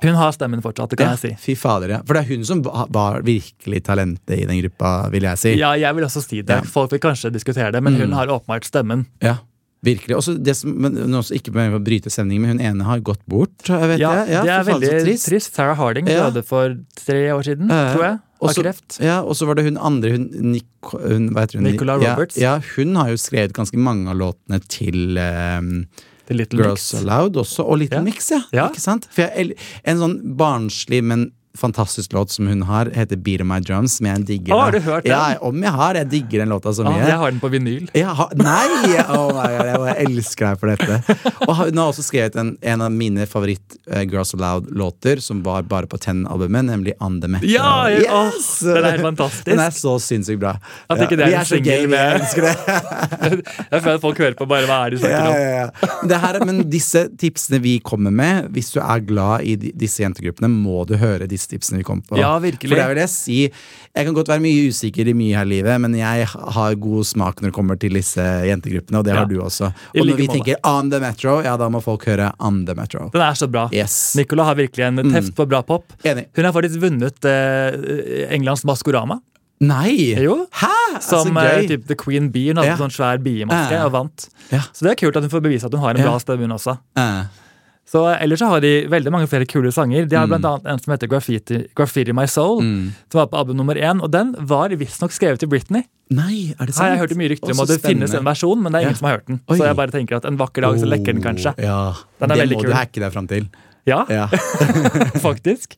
Speaker 1: Hun har stemmen fortsatt, det kan
Speaker 2: Ja,
Speaker 1: jeg si.
Speaker 2: Fy fader, ja. For det er hun som va- var virkelig talentet i den gruppa, vil jeg si.
Speaker 1: Ja, jeg vil også si det.
Speaker 2: Ja. Mm.
Speaker 1: Folk vil kanskje diskutere det, men hun har åpenbart stemmen.
Speaker 2: Ja, Virkelig. Også det som, men, nå også ikke med å bryte stemningen, men hun ene har gått bort. Vet
Speaker 1: Ja,
Speaker 2: jeg. Ja,
Speaker 1: det er
Speaker 2: fy fader,
Speaker 1: veldig
Speaker 2: så
Speaker 1: trist. Sarah Harding
Speaker 2: Ja.
Speaker 1: døde for tre år siden,
Speaker 2: Ja, ja.
Speaker 1: tror jeg. Av
Speaker 2: Også-
Speaker 1: kreft.
Speaker 2: Ja, og så var det hun andre hun, Nico, hun, hva heter hun?
Speaker 1: Nicola
Speaker 2: ja,
Speaker 1: Roberts.
Speaker 2: Ja, hun har jo skrevet ganske mange av låtene til ehm,
Speaker 1: The Little
Speaker 2: Girls
Speaker 1: Mix.
Speaker 2: Aloud også, og Little
Speaker 1: Ja.
Speaker 2: Mix, ja.
Speaker 1: Ja.
Speaker 2: Ikke sant? For jeg, el- en sånn barnslig, men fantastisk låt som hun har, heter Beat on My Drums, som jeg digger.
Speaker 1: Å,
Speaker 2: da.
Speaker 1: har du hørt den?
Speaker 2: Ja, om jeg har. Jeg digger den låta så
Speaker 1: Ah,
Speaker 2: mye.
Speaker 1: jeg har den på vinyl.
Speaker 2: Jeg har- nei! Oh my God, jeg bare elsker deg for dette. Og har- hun har også skrevet en, en av mine favoritt eh, Girls Aloud-låter, som var bare på Ten-albumet, nemlig On The Metal.
Speaker 1: Ja! jeg- åh,
Speaker 2: Yes!
Speaker 1: Den er helt fantastisk.
Speaker 2: Den er så sinnssykt bra.
Speaker 1: At ikke det er
Speaker 2: vi
Speaker 1: en
Speaker 2: er så
Speaker 1: single
Speaker 2: gay, vi
Speaker 1: med-
Speaker 2: elsker det.
Speaker 1: Jeg føler at folk hører på bare hva er det de snakker
Speaker 2: Ja,
Speaker 1: om.
Speaker 2: ja, ja. Det her, men disse tipsene vi kommer med, hvis du er glad i de- disse jentegruppene, må du høre disse tipsene vi kommer på.
Speaker 1: Ja, virkelig.
Speaker 2: For det vil jeg si. Jeg kan godt være mye usikker i mye her i livet, men jeg har god smak når det kommer til disse jentegruppene, og det
Speaker 1: Ja.
Speaker 2: har du også.
Speaker 1: I
Speaker 2: Og
Speaker 1: like
Speaker 2: når vi
Speaker 1: måte.
Speaker 2: tenker On The Metro, ja, da må folk høre On The Metro.
Speaker 1: Den er så bra.
Speaker 2: Yes. Mm.
Speaker 1: Nicola har virkelig en teft på bra pop.
Speaker 2: Enig.
Speaker 1: Hun har faktisk vunnet eh, Englands Maskorama,
Speaker 2: Nei!
Speaker 1: Jo.
Speaker 2: Hæ?
Speaker 1: som
Speaker 2: så
Speaker 1: eh,
Speaker 2: gøy!
Speaker 1: typ The Queen Bee. Hun hadde
Speaker 2: Ja.
Speaker 1: sånn svær biemaske
Speaker 2: Ja.
Speaker 1: og vant.
Speaker 2: Ja.
Speaker 1: Så det er kult at hun får bevise at hun har en
Speaker 2: Ja.
Speaker 1: bra stemme, hun også.
Speaker 2: Eh,
Speaker 1: Så eh, Ellers så har de veldig mange flere kule sanger. De har
Speaker 2: Mm.
Speaker 1: blant annet en som heter Graffiti, Graffiti My Soul, som var på album nummer én. Og den var visstnok skrevet til Britney.
Speaker 2: Nei, er det sant?
Speaker 1: Har jeg hørt mye rykter om
Speaker 2: Å,
Speaker 1: at
Speaker 2: så
Speaker 1: det finnes en
Speaker 2: spennende.
Speaker 1: versjon, men det er ingen
Speaker 2: Ja.
Speaker 1: som har hørt den.
Speaker 2: Oi.
Speaker 1: Så jeg bare tenker at en vakker dag så lekker den kanskje.
Speaker 2: Oh, Ja.
Speaker 1: Den er
Speaker 2: det
Speaker 1: veldig
Speaker 2: må
Speaker 1: kul.
Speaker 2: du hacke deg fram til.
Speaker 1: Ja,
Speaker 2: Ja.
Speaker 1: faktisk.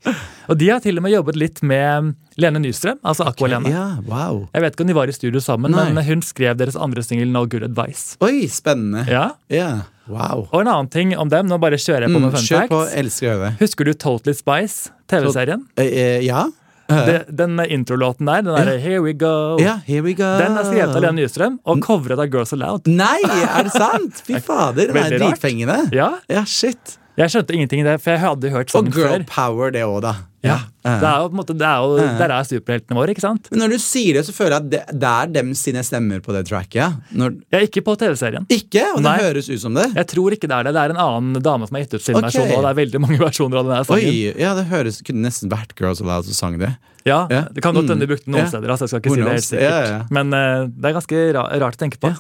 Speaker 1: Og de har til og med jobbet litt med Lene Nystrøm, altså Aqua-Lene.
Speaker 2: ja, wow.
Speaker 1: Jeg vet ikke om de var i studio sammen,
Speaker 2: Nei.
Speaker 1: men hun skrev deres andre singel No Good Advice.
Speaker 2: Oi, spennende.
Speaker 1: Ja,
Speaker 2: Ja, wow.
Speaker 1: Og en annen ting om dem, nå bare kjører jeg på
Speaker 2: Mm,
Speaker 1: med fun
Speaker 2: kjør på,
Speaker 1: facts.
Speaker 2: elsker å gjøre det.
Speaker 1: Husker du Totally Spice, TV-serien?
Speaker 2: Eh, eh, ja.
Speaker 1: Det- Den introlåten der, den derre Here We Go,
Speaker 2: ja, here we go.
Speaker 1: Oh. den er skrevet av Lene Nystrøm og covret av Girls Aloud.
Speaker 2: Nei, er det sant? Fy fader, den er
Speaker 1: Veldig rart.
Speaker 2: dritfengende.
Speaker 1: Ja,
Speaker 2: Ja, shit.
Speaker 1: Jeg skjønte ingenting i det, for jeg hadde hørt
Speaker 2: Og
Speaker 1: sangen
Speaker 2: girl
Speaker 1: før.
Speaker 2: power, det òg, da.
Speaker 1: Ja. Det er jo på en måte, det er jo, Der er superheltene våre, ikke sant?
Speaker 2: Men når du sier det, så føler jeg at det, det er dem sine stemmer på det tracket. Ja. Når,
Speaker 1: Jeg er ikke på TV-serien.
Speaker 2: ikke? Og det
Speaker 1: Nei.
Speaker 2: høres ut som det.
Speaker 1: Jeg tror ikke det er det. Det er en annen dame som har gitt ut sin
Speaker 2: Ok.
Speaker 1: versjon. Og det er veldig mange versjoner av denne sangen.
Speaker 2: Oi, ja, det høres, kunne nesten vært Girls Aloud som sang det.
Speaker 1: Ja,
Speaker 2: Ja.
Speaker 1: Det kan godt hende
Speaker 2: Mm.
Speaker 1: du brukte den noen
Speaker 2: Ja.
Speaker 1: steder. Altså, jeg skal ikke
Speaker 2: Who
Speaker 1: si det helt
Speaker 2: knows?
Speaker 1: sikkert.
Speaker 2: Ja, ja, ja.
Speaker 1: Men eh, det er ganske ra rart å tenke på.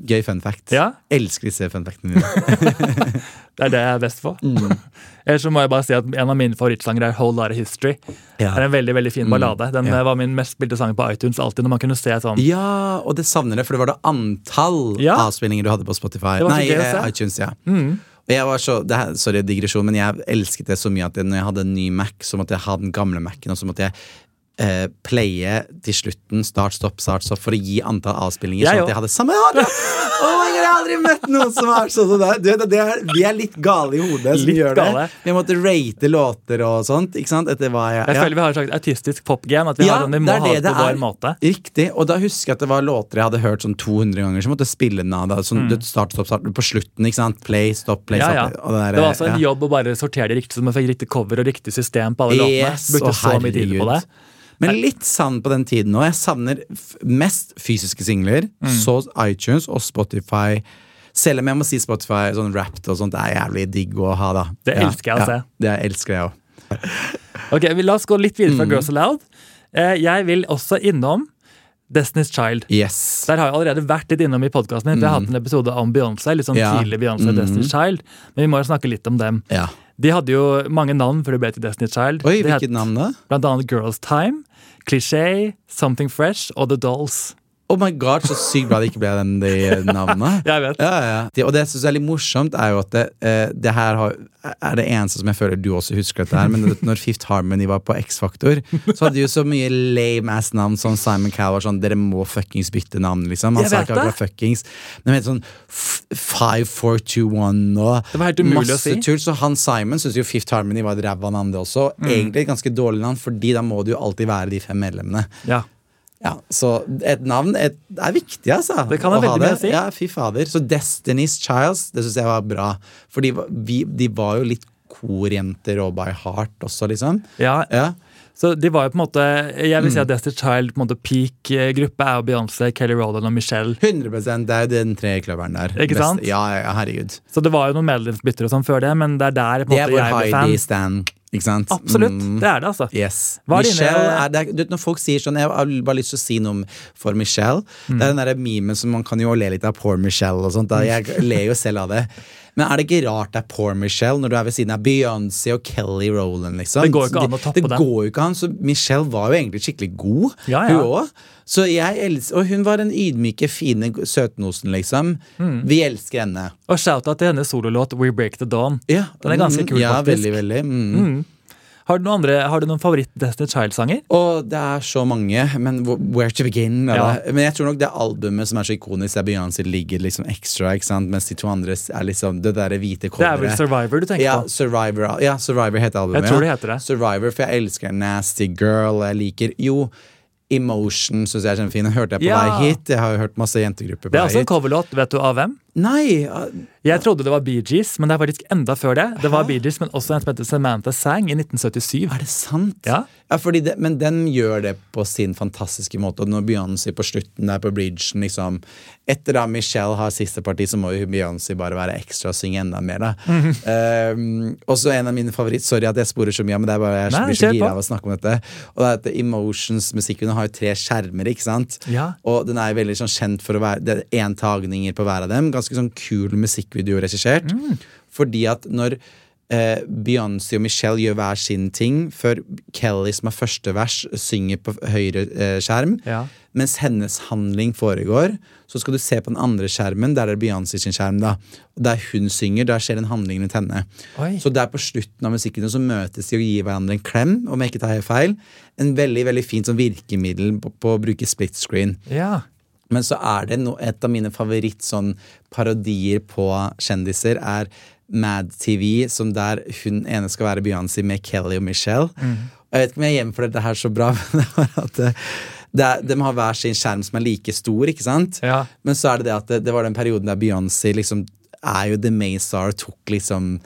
Speaker 2: Gøy fun fact.
Speaker 1: Ja.
Speaker 2: Elsker disse fun factene dine.
Speaker 1: Det er det jeg er best på.
Speaker 2: Mm.
Speaker 1: Ellers så må jeg bare si at en av mine favorittsanger er Whole Lotta History.
Speaker 2: Ja. Mm.
Speaker 1: Det er en veldig veldig fin ballade. Den
Speaker 2: Ja.
Speaker 1: eh, var min mest spilte sang på iTunes alltid. når man kunne se sånn.
Speaker 2: Ja, og det savner jeg, for det var det antall
Speaker 1: Ja.
Speaker 2: avspillinger du hadde på Spotify.
Speaker 1: Det var så
Speaker 2: Nei,
Speaker 1: gøy å
Speaker 2: eh,
Speaker 1: se. Mm.
Speaker 2: iTunes, ja. Men Jeg var så, det her, sorry, digresjon, men jeg elsket det så mye at jeg, når jeg hadde en ny Mac, så måtte jeg ha den gamle Mac-en, og så måtte jeg eh, playe til slutten, start, stopp, start, stopp, for å gi antall avspillinger,
Speaker 1: Jeg
Speaker 2: sånn
Speaker 1: òg.
Speaker 2: at jeg hadde samme radio! Oh my God, jeg har aldri møtt noen som er sånn som deg! Du vet at det er- Vi er litt gale i hodet som
Speaker 1: Litt
Speaker 2: gjør det.
Speaker 1: gale.
Speaker 2: Vi måtte rate låter og sånt, ikke sant? Etter hva jeg,
Speaker 1: Jeg
Speaker 2: ja.
Speaker 1: føler vi har et slags autistisk popgen. At vi, har, sånn, vi må ha det på vår måte.
Speaker 2: Riktig. Og da husker jeg at det var låter jeg hadde hørt sånn 200 ganger, som måtte spille den av. da, Sånn, du, start, stopp, start, på slutten, ikke sant. Play, stopp, play,
Speaker 1: Mm. Ja, ja.
Speaker 2: stopp. og der,
Speaker 1: Det var altså en
Speaker 2: ja.
Speaker 1: jobb å bare sortere det riktig, så man fikk riktig cover og riktig system på alle låtene.
Speaker 2: Yes,
Speaker 1: Brukte
Speaker 2: å,
Speaker 1: så mye tid på det.
Speaker 2: herregud. Men litt savn på den tiden nå. Jeg savner f mest fysiske singler,
Speaker 1: Mm.
Speaker 2: så iTunes og Spotify. Selv om jeg må si Spotify sånn rapped og sånt, det er jævlig digg å ha, da.
Speaker 1: Det elsker jeg å se.
Speaker 2: Det elsker jeg òg.
Speaker 1: Ok, vi La oss gå litt videre fra
Speaker 2: Mm.
Speaker 1: Girls Aloud. Eh, Jeg vil også innom Destiny's Child.
Speaker 2: Yes. Mm.
Speaker 1: Der har jeg allerede vært litt innom i podkasten min. for Jeg har hatt en episode om Beyoncé. Litt sånn
Speaker 2: Ja. Mm.
Speaker 1: tidlig Beyoncé og Destiny's Child. Men vi må jo snakke litt om dem.
Speaker 2: Ja.
Speaker 1: De hadde jo mange navn før de ble til Destiny's Child.
Speaker 2: Oi,
Speaker 1: de het
Speaker 2: hvilket navn da?
Speaker 1: Blant annet Girls Time, Cliché, Something Fresh og The Dolls.
Speaker 2: Oh my god, så sykt bra det ikke ble den de navnene.
Speaker 1: Jeg vet.
Speaker 2: Ja, ja. Det- Og det jeg synes er litt morsomt, er jo at det, eh, det her har, er det eneste som jeg føler du også husker dette her, men det- når Fifth Harmony var på X-Factor, så hadde de jo så mye lame ass navn som Simon Cowell var sånn Dere må fuckings bytte navn, liksom. Han
Speaker 1: Jeg
Speaker 2: sa
Speaker 1: vet
Speaker 2: ikke akkurat fuckings. Men det het sånn f- 5421 og
Speaker 1: Det var helt umulig å
Speaker 2: masse
Speaker 1: si.
Speaker 2: tull. Så han Simon syntes jo Fifth Harmony var et ræva navn, det også.
Speaker 1: Mm.
Speaker 2: Egentlig et ganske dårlig navn, fordi da må det jo alltid være de fem medlemmene.
Speaker 1: Ja.
Speaker 2: Ja, Så et navn et, er viktig, altså.
Speaker 1: Det kan ha
Speaker 2: å ha
Speaker 1: veldig mye å si.
Speaker 2: Ja, fy fader. Så Destiny's Childs, det syns jeg var bra. For de, var- vi, de var jo litt korjenter og by heart også, liksom.
Speaker 1: ja.
Speaker 2: Ja.
Speaker 1: Så de var jo på en måte Jeg
Speaker 2: Mm.
Speaker 1: vil si at Destiny's Child på en måte peak eh, gruppe er jo Beyoncé, Kelly Rowland og Michelle.
Speaker 2: 100 Det er jo den trekløveren der.
Speaker 1: Ikke
Speaker 2: Best-
Speaker 1: sant?
Speaker 2: Ja, ja, herregud.
Speaker 1: Så det var jo noen medlemsbytter og sånn før det, men det er der på
Speaker 2: Det
Speaker 1: en måte
Speaker 2: er hvor
Speaker 1: jeg ble fan.
Speaker 2: Heidi Stan, ikke sant?
Speaker 1: Absolutt.
Speaker 2: Mm.
Speaker 1: Det er det, altså.
Speaker 2: Yes.
Speaker 1: Hva er dine-
Speaker 2: Michelle er, det er, du, vet, Når folk sier sånn Jeg har bare lyst til å si noe om- for Michelle.
Speaker 1: Mm.
Speaker 2: Det er den der memen som man kan jo le litt av poor Michelle og sånt. Da. Jeg
Speaker 1: Mm.
Speaker 2: ler jo selv av det. Men er det ikke rart det er poor Michelle når du er ved siden av Beyoncé og Kelly Rowland? Liksom?
Speaker 1: Det går jo ikke
Speaker 2: Så
Speaker 1: an å toppe
Speaker 2: det.
Speaker 1: det.
Speaker 2: går jo ikke an, så Michelle var jo egentlig skikkelig god,
Speaker 1: Ja, ja.
Speaker 2: hun òg. Så jeg elsker, og hun var den ydmyke, fine søtnosen, liksom.
Speaker 1: Mm.
Speaker 2: Vi elsker henne.
Speaker 1: Og shout-out til hennes sololåt We Break The Dawn.
Speaker 2: Ja.
Speaker 1: Den er ganske
Speaker 2: Mm,
Speaker 1: kul,
Speaker 2: ja,
Speaker 1: faktisk.
Speaker 2: Veldig, veldig. Mm.
Speaker 1: Har du noen, andre- har du noen favoritt-Destiny's Child-sanger?
Speaker 2: Og det er så mange, men hvor- where to begin?
Speaker 1: Ja.
Speaker 2: eller? Men jeg tror nok det albumet som er så ikonisk, der Beyoncé ligger liksom ekstra, ikke sant? mens de to andre er liksom det derre hvite
Speaker 1: Det er vel
Speaker 2: coveret.
Speaker 1: Survivor du tenker
Speaker 2: Ja,
Speaker 1: på?
Speaker 2: Survivor, ja, Survivor heter albumet.
Speaker 1: Jeg tror det
Speaker 2: ja.
Speaker 1: heter det.
Speaker 2: Survivor, for jeg elsker Nasty Girl. og Jeg liker jo Emotion, syns jeg er kjempefin. Den hørte jeg på
Speaker 1: Ja.
Speaker 2: vei hit. Jeg har jo hørt masse jentegrupper på
Speaker 1: Det er
Speaker 2: vei
Speaker 1: også en
Speaker 2: hit.
Speaker 1: coverlåt, vet du av hvem?
Speaker 2: Nei! ah,
Speaker 1: Jeg trodde det var Bee Gees, men det er faktisk enda før det. Det var Bee Gees, men også en som heter Samantha Sang i 1977.
Speaker 2: Er det sant?
Speaker 1: Ja.
Speaker 2: fordi det, Men den gjør det på sin fantastiske måte. Og når Beyoncé på slutten der på bridgen liksom, Etter da Michelle har siste parti, så må jo Beyoncé bare være ekstra og synge enda mer. da um, Og så en av mine favoritt Sorry at jeg sporer så mye, men det er bare jeg
Speaker 1: Nei,
Speaker 2: blir så
Speaker 1: kjør på.
Speaker 2: gira av å snakke om dette. Og det er at Emotions-musikken har jo tre skjermer, ikke sant?
Speaker 1: Ja.
Speaker 2: Og den er veldig sånn kjent for å være Det er én tagninger på hver av dem. Ganske sånn kul musikkvideo regissert.
Speaker 1: Mm.
Speaker 2: Fordi at når eh, Beyoncé og Michelle gjør hver sin ting, før Kelly, som er første vers, synger på høyre eh, skjerm,
Speaker 1: Ja.
Speaker 2: mens hennes handling foregår, så skal du se på den andre skjermen, der er Beyoncé sin skjerm, da. Og der hun synger, der skjer en handling rundt henne.
Speaker 1: Oi.
Speaker 2: Så der på slutten av musikken så møtes de og gir hverandre en klem, om jeg ikke tar helt feil. En veldig, veldig fint sånn virkemiddel på, på å bruke split screen.
Speaker 1: Ja.
Speaker 2: Men så er det no, et av mine favoritt sånn parodier på kjendiser er Mad TV, som der hun ene skal være Beyoncé med Kelly og Michelle. Og Jeg vet ikke om jeg gjenfordelte det her så bra, men det var at det, det er, de har hver sin skjerm som er like stor, ikke sant?
Speaker 1: Ja.
Speaker 2: Men så er det det at det, det var den perioden der Beyoncé liksom er jo the main star og tok liksom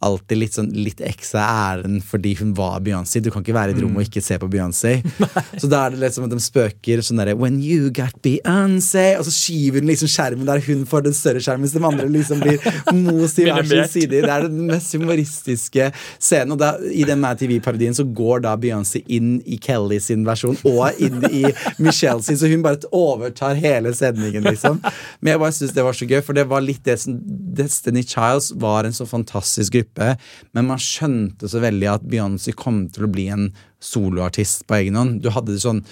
Speaker 2: alltid litt sånn litt ekstra æren fordi hun var Beyoncé. Du kan ikke være i et rom og ikke se på Beyoncé. så da er det liksom at de spøker sånn derre When you got Beyoncé Og så skyver hun liksom skjermen der hun får den større skjermen, mens de andre liksom blir most i hver sin
Speaker 1: Minimert.
Speaker 2: side. Det er den mest humoristiske scenen. Og da, i den Mad TV-parodien så går da Beyoncé inn i Kelly sin versjon og inn i Michelle sin, så hun bare overtar hele sendingen, liksom. Men jeg bare synes det var så gøy, for det var litt det som Destiny Childs var en så fantastisk gruppe, men man skjønte så veldig at Beyoncé kom til å bli en soloartist på egen hånd. Du hadde det sånn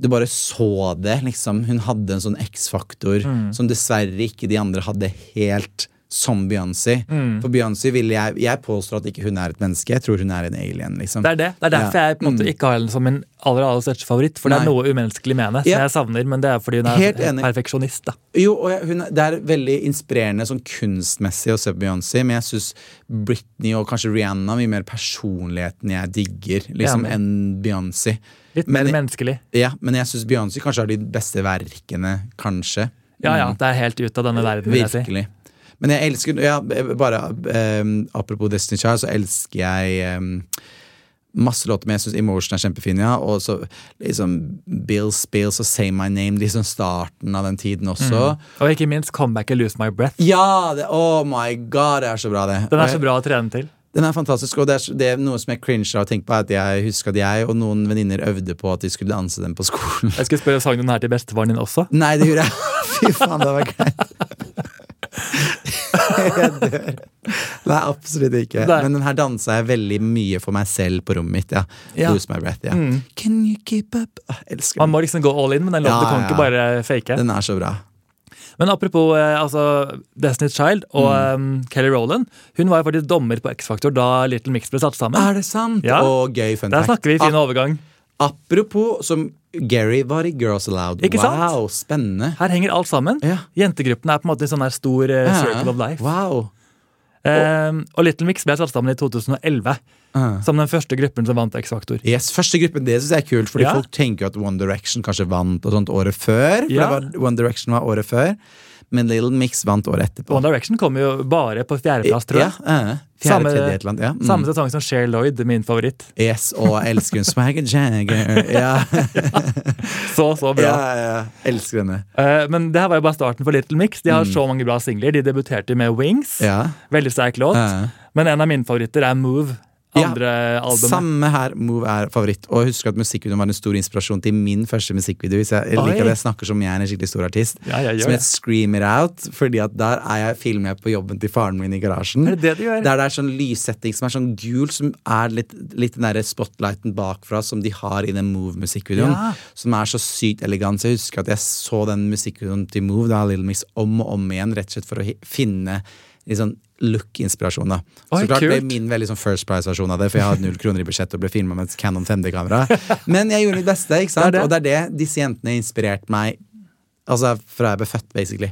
Speaker 2: du bare så
Speaker 1: Mm.
Speaker 2: det, liksom. Hun hadde en sånn X-faktor som dessverre ikke de andre hadde helt som Beyoncé.
Speaker 1: Mm.
Speaker 2: For Beyoncé vil jeg Jeg påstår at ikke hun er et menneske. Jeg tror hun er en alien, liksom.
Speaker 1: Det er det. Det er derfor
Speaker 2: Ja. Mm.
Speaker 1: jeg på en måte ikke har henne som min aller aller største favoritt. For det
Speaker 2: Nei.
Speaker 1: er noe umenneskelig med henne, som
Speaker 2: Ja.
Speaker 1: jeg savner. Men det er fordi hun er
Speaker 2: Helt enig.
Speaker 1: perfeksjonist. da.
Speaker 2: Jo, og jeg, hun, er- Det er veldig inspirerende sånn kunstmessig å se på Beyoncé, men jeg syns Britney og kanskje Rihanna har mye mer personligheten jeg digger, liksom,
Speaker 1: Enig.
Speaker 2: enn Beyoncé.
Speaker 1: Litt
Speaker 2: Men-
Speaker 1: mer menneskelig.
Speaker 2: Ja, men jeg syns Beyoncé kanskje har de beste verkene, kanskje.
Speaker 1: Ja,
Speaker 2: Mm.
Speaker 1: ja, det er helt ut av denne verden. vil jeg si.
Speaker 2: Virkelig. Men jeg elsker ja, bare ehm, Apropos Destiny Child, så elsker jeg ehm, masse låter med. Jeg syns Emotion er kjempefin, ja. Og så liksom Bill Spills og Say My Name, liksom starten av den tiden også.
Speaker 1: Og ikke minst comebacket Lose My Breath.
Speaker 2: Ja! Det, oh my god, det er så bra, det.
Speaker 1: Den
Speaker 2: Og
Speaker 1: er så
Speaker 2: jeg-
Speaker 1: bra å trene til.
Speaker 2: Den er fantastisk, og det er, så- det er noe som jeg cringer av å tenke på, er at jeg husker at jeg og noen venninner øvde på at de skulle danse den på skolen.
Speaker 1: Jeg skulle spørre sang den her til bestefaren din også.
Speaker 2: Nei, det gjorde jeg. Fy faen, det var greit. Jeg dør. Nei, absolutt ikke.
Speaker 1: Nei.
Speaker 2: Men den her dansa jeg veldig mye for meg selv på rommet mitt. ja.
Speaker 1: Ja. Mm.
Speaker 2: Lose my breath, ja. Can you keep up? Åh, Jeg elsker
Speaker 1: Man
Speaker 2: den.
Speaker 1: må liksom gå all in, men den låten
Speaker 2: Ja,
Speaker 1: du kan
Speaker 2: ja,
Speaker 1: ikke bare fake.
Speaker 2: Den er så bra.
Speaker 1: Men apropos eh, altså, Destiny's Child og
Speaker 2: Mm.
Speaker 1: eh, Kelly Rowland. Hun var jo faktisk dommer på X-Factor da Little Mix ble satt sammen.
Speaker 2: Er det sant?
Speaker 1: Ja.
Speaker 2: Og gøy fun
Speaker 1: Der snakker vi fin
Speaker 2: A-
Speaker 1: overgang.
Speaker 2: Apropos som Gary var i Girls Aloud.
Speaker 1: Ikke sant?
Speaker 2: wow, spennende.
Speaker 1: Her henger alt sammen.
Speaker 2: Ja.
Speaker 1: Jentegruppen er på en måte en sånn her stor eh, circle of life.
Speaker 2: Wow.
Speaker 1: Eh, og Little Mix ble satt sammen i 2011
Speaker 2: Ah.
Speaker 1: som den første gruppen som vant X-Faktor.
Speaker 2: Yes, Første gruppen det synes jeg er kult, fordi
Speaker 1: Ja.
Speaker 2: folk tenker jo at One Direction kanskje vant og sånt året før. For
Speaker 1: Ja.
Speaker 2: det var, One Direction var året før, men Little Mix vant året etterpå.
Speaker 1: One Direction kom jo bare på fjerdeplass, tror jeg.
Speaker 2: Ja, eh,
Speaker 1: Samme-
Speaker 2: fjerde, tredje, et eller annet. Ja. Mm.
Speaker 1: Samme sesong som Cher Lloyd, min favoritt.
Speaker 2: Yes, og jeg elsker hun Swagger Jagger. Ja,
Speaker 1: Så, så bra.
Speaker 2: ja, ja. Elsker henne.
Speaker 1: Eh, men det her var jo bare starten for Little Mix. De har så mange bra singler. De debuterte med Wings,
Speaker 2: Mm. Ja.
Speaker 1: veldig sterk låt.
Speaker 2: Ja.
Speaker 1: Men en av mine favoritter er Move.
Speaker 2: Ja.
Speaker 1: Andre albumet.
Speaker 2: Samme her. Move er favoritt. Og husk at musikkvideoen var en stor inspirasjon til min første musikkvideo. Hvis jeg, jeg
Speaker 1: Oi.
Speaker 2: liker at jeg snakker som om jeg er en skikkelig stor artist.
Speaker 1: Ja, jeg gjør
Speaker 2: som
Speaker 1: det.
Speaker 2: het Scream It Out. Fordi at der er jeg, filmer jeg på jobben til faren min i garasjen.
Speaker 1: Er det det du gjør?
Speaker 2: Der det er sånn lyssetting som er sånn gul, som er litt, litt den derre spotlighten bakfra som de har i den Move-musikkvideoen.
Speaker 1: Ja.
Speaker 2: Som er så sykt elegant. Så jeg husker at jeg så den musikkvideoen til Move da, Little Mix, om og om igjen, rett og slett for å hi- finne litt sånn look-inspirasjon. da
Speaker 1: Oi,
Speaker 2: Så klart ble
Speaker 1: kult.
Speaker 2: min veldig sånn First Price-versjon av det, for jeg hadde null kroner i budsjett og ble filma med et Canon 5D-kamera. Men jeg gjorde mitt beste, ikke sant?
Speaker 1: Det er det.
Speaker 2: og det er det disse jentene inspirerte meg Altså fra jeg ble født, basically.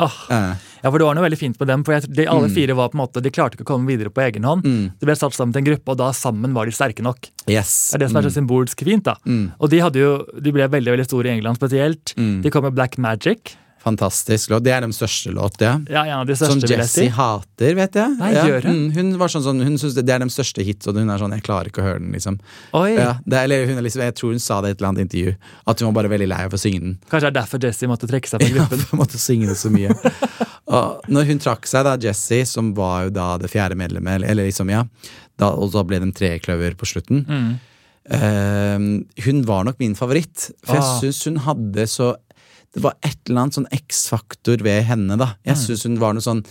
Speaker 1: Åh.
Speaker 2: Eh,
Speaker 1: Ja, for det var noe veldig fint med dem. For jeg, de alle
Speaker 2: Mm.
Speaker 1: fire var på en måte, de klarte ikke å komme videre på egen hånd. De ble satt sammen til en gruppe, og da sammen var de sterke nok.
Speaker 2: yes.
Speaker 1: Det er det som
Speaker 2: Mm.
Speaker 1: er så symbolsk fint. da. Og de, hadde jo, de ble veldig veldig store i England spesielt.
Speaker 2: Mm.
Speaker 1: De kom med Black Magic.
Speaker 2: Fantastisk låt. Det er de største låt, ja.
Speaker 1: Ja, en av de
Speaker 2: Som
Speaker 1: største, vil jeg si.
Speaker 2: Jessie hater, vet jeg.
Speaker 1: Nei,
Speaker 2: ja.
Speaker 1: gjør hun?
Speaker 2: Mm, hun var sånn, sånn, hun syns det, det er de største hits, og hun er sånn 'jeg klarer ikke å høre den', liksom.
Speaker 1: Oi,
Speaker 2: Ja, det, er- eller hun er liksom. Jeg tror hun sa det i et eller annet intervju, at hun var bare veldig lei av å synge den.
Speaker 1: Kanskje det er derfor Jessie måtte trekke seg fra gruppen.
Speaker 2: Hun måtte synge det så mye. og når hun trakk seg, da, Jessie, som var jo da det fjerde medlemmet, eller, eller liksom, ja, da, og da ble de trekløver på slutten
Speaker 1: Mm.
Speaker 2: eh, Hun var nok min favoritt, for
Speaker 1: Ah.
Speaker 2: jeg syns hun hadde så Det var et eller annet sånn X-faktor ved henne, da. Jeg
Speaker 1: Mm.
Speaker 2: syns hun var noe sånn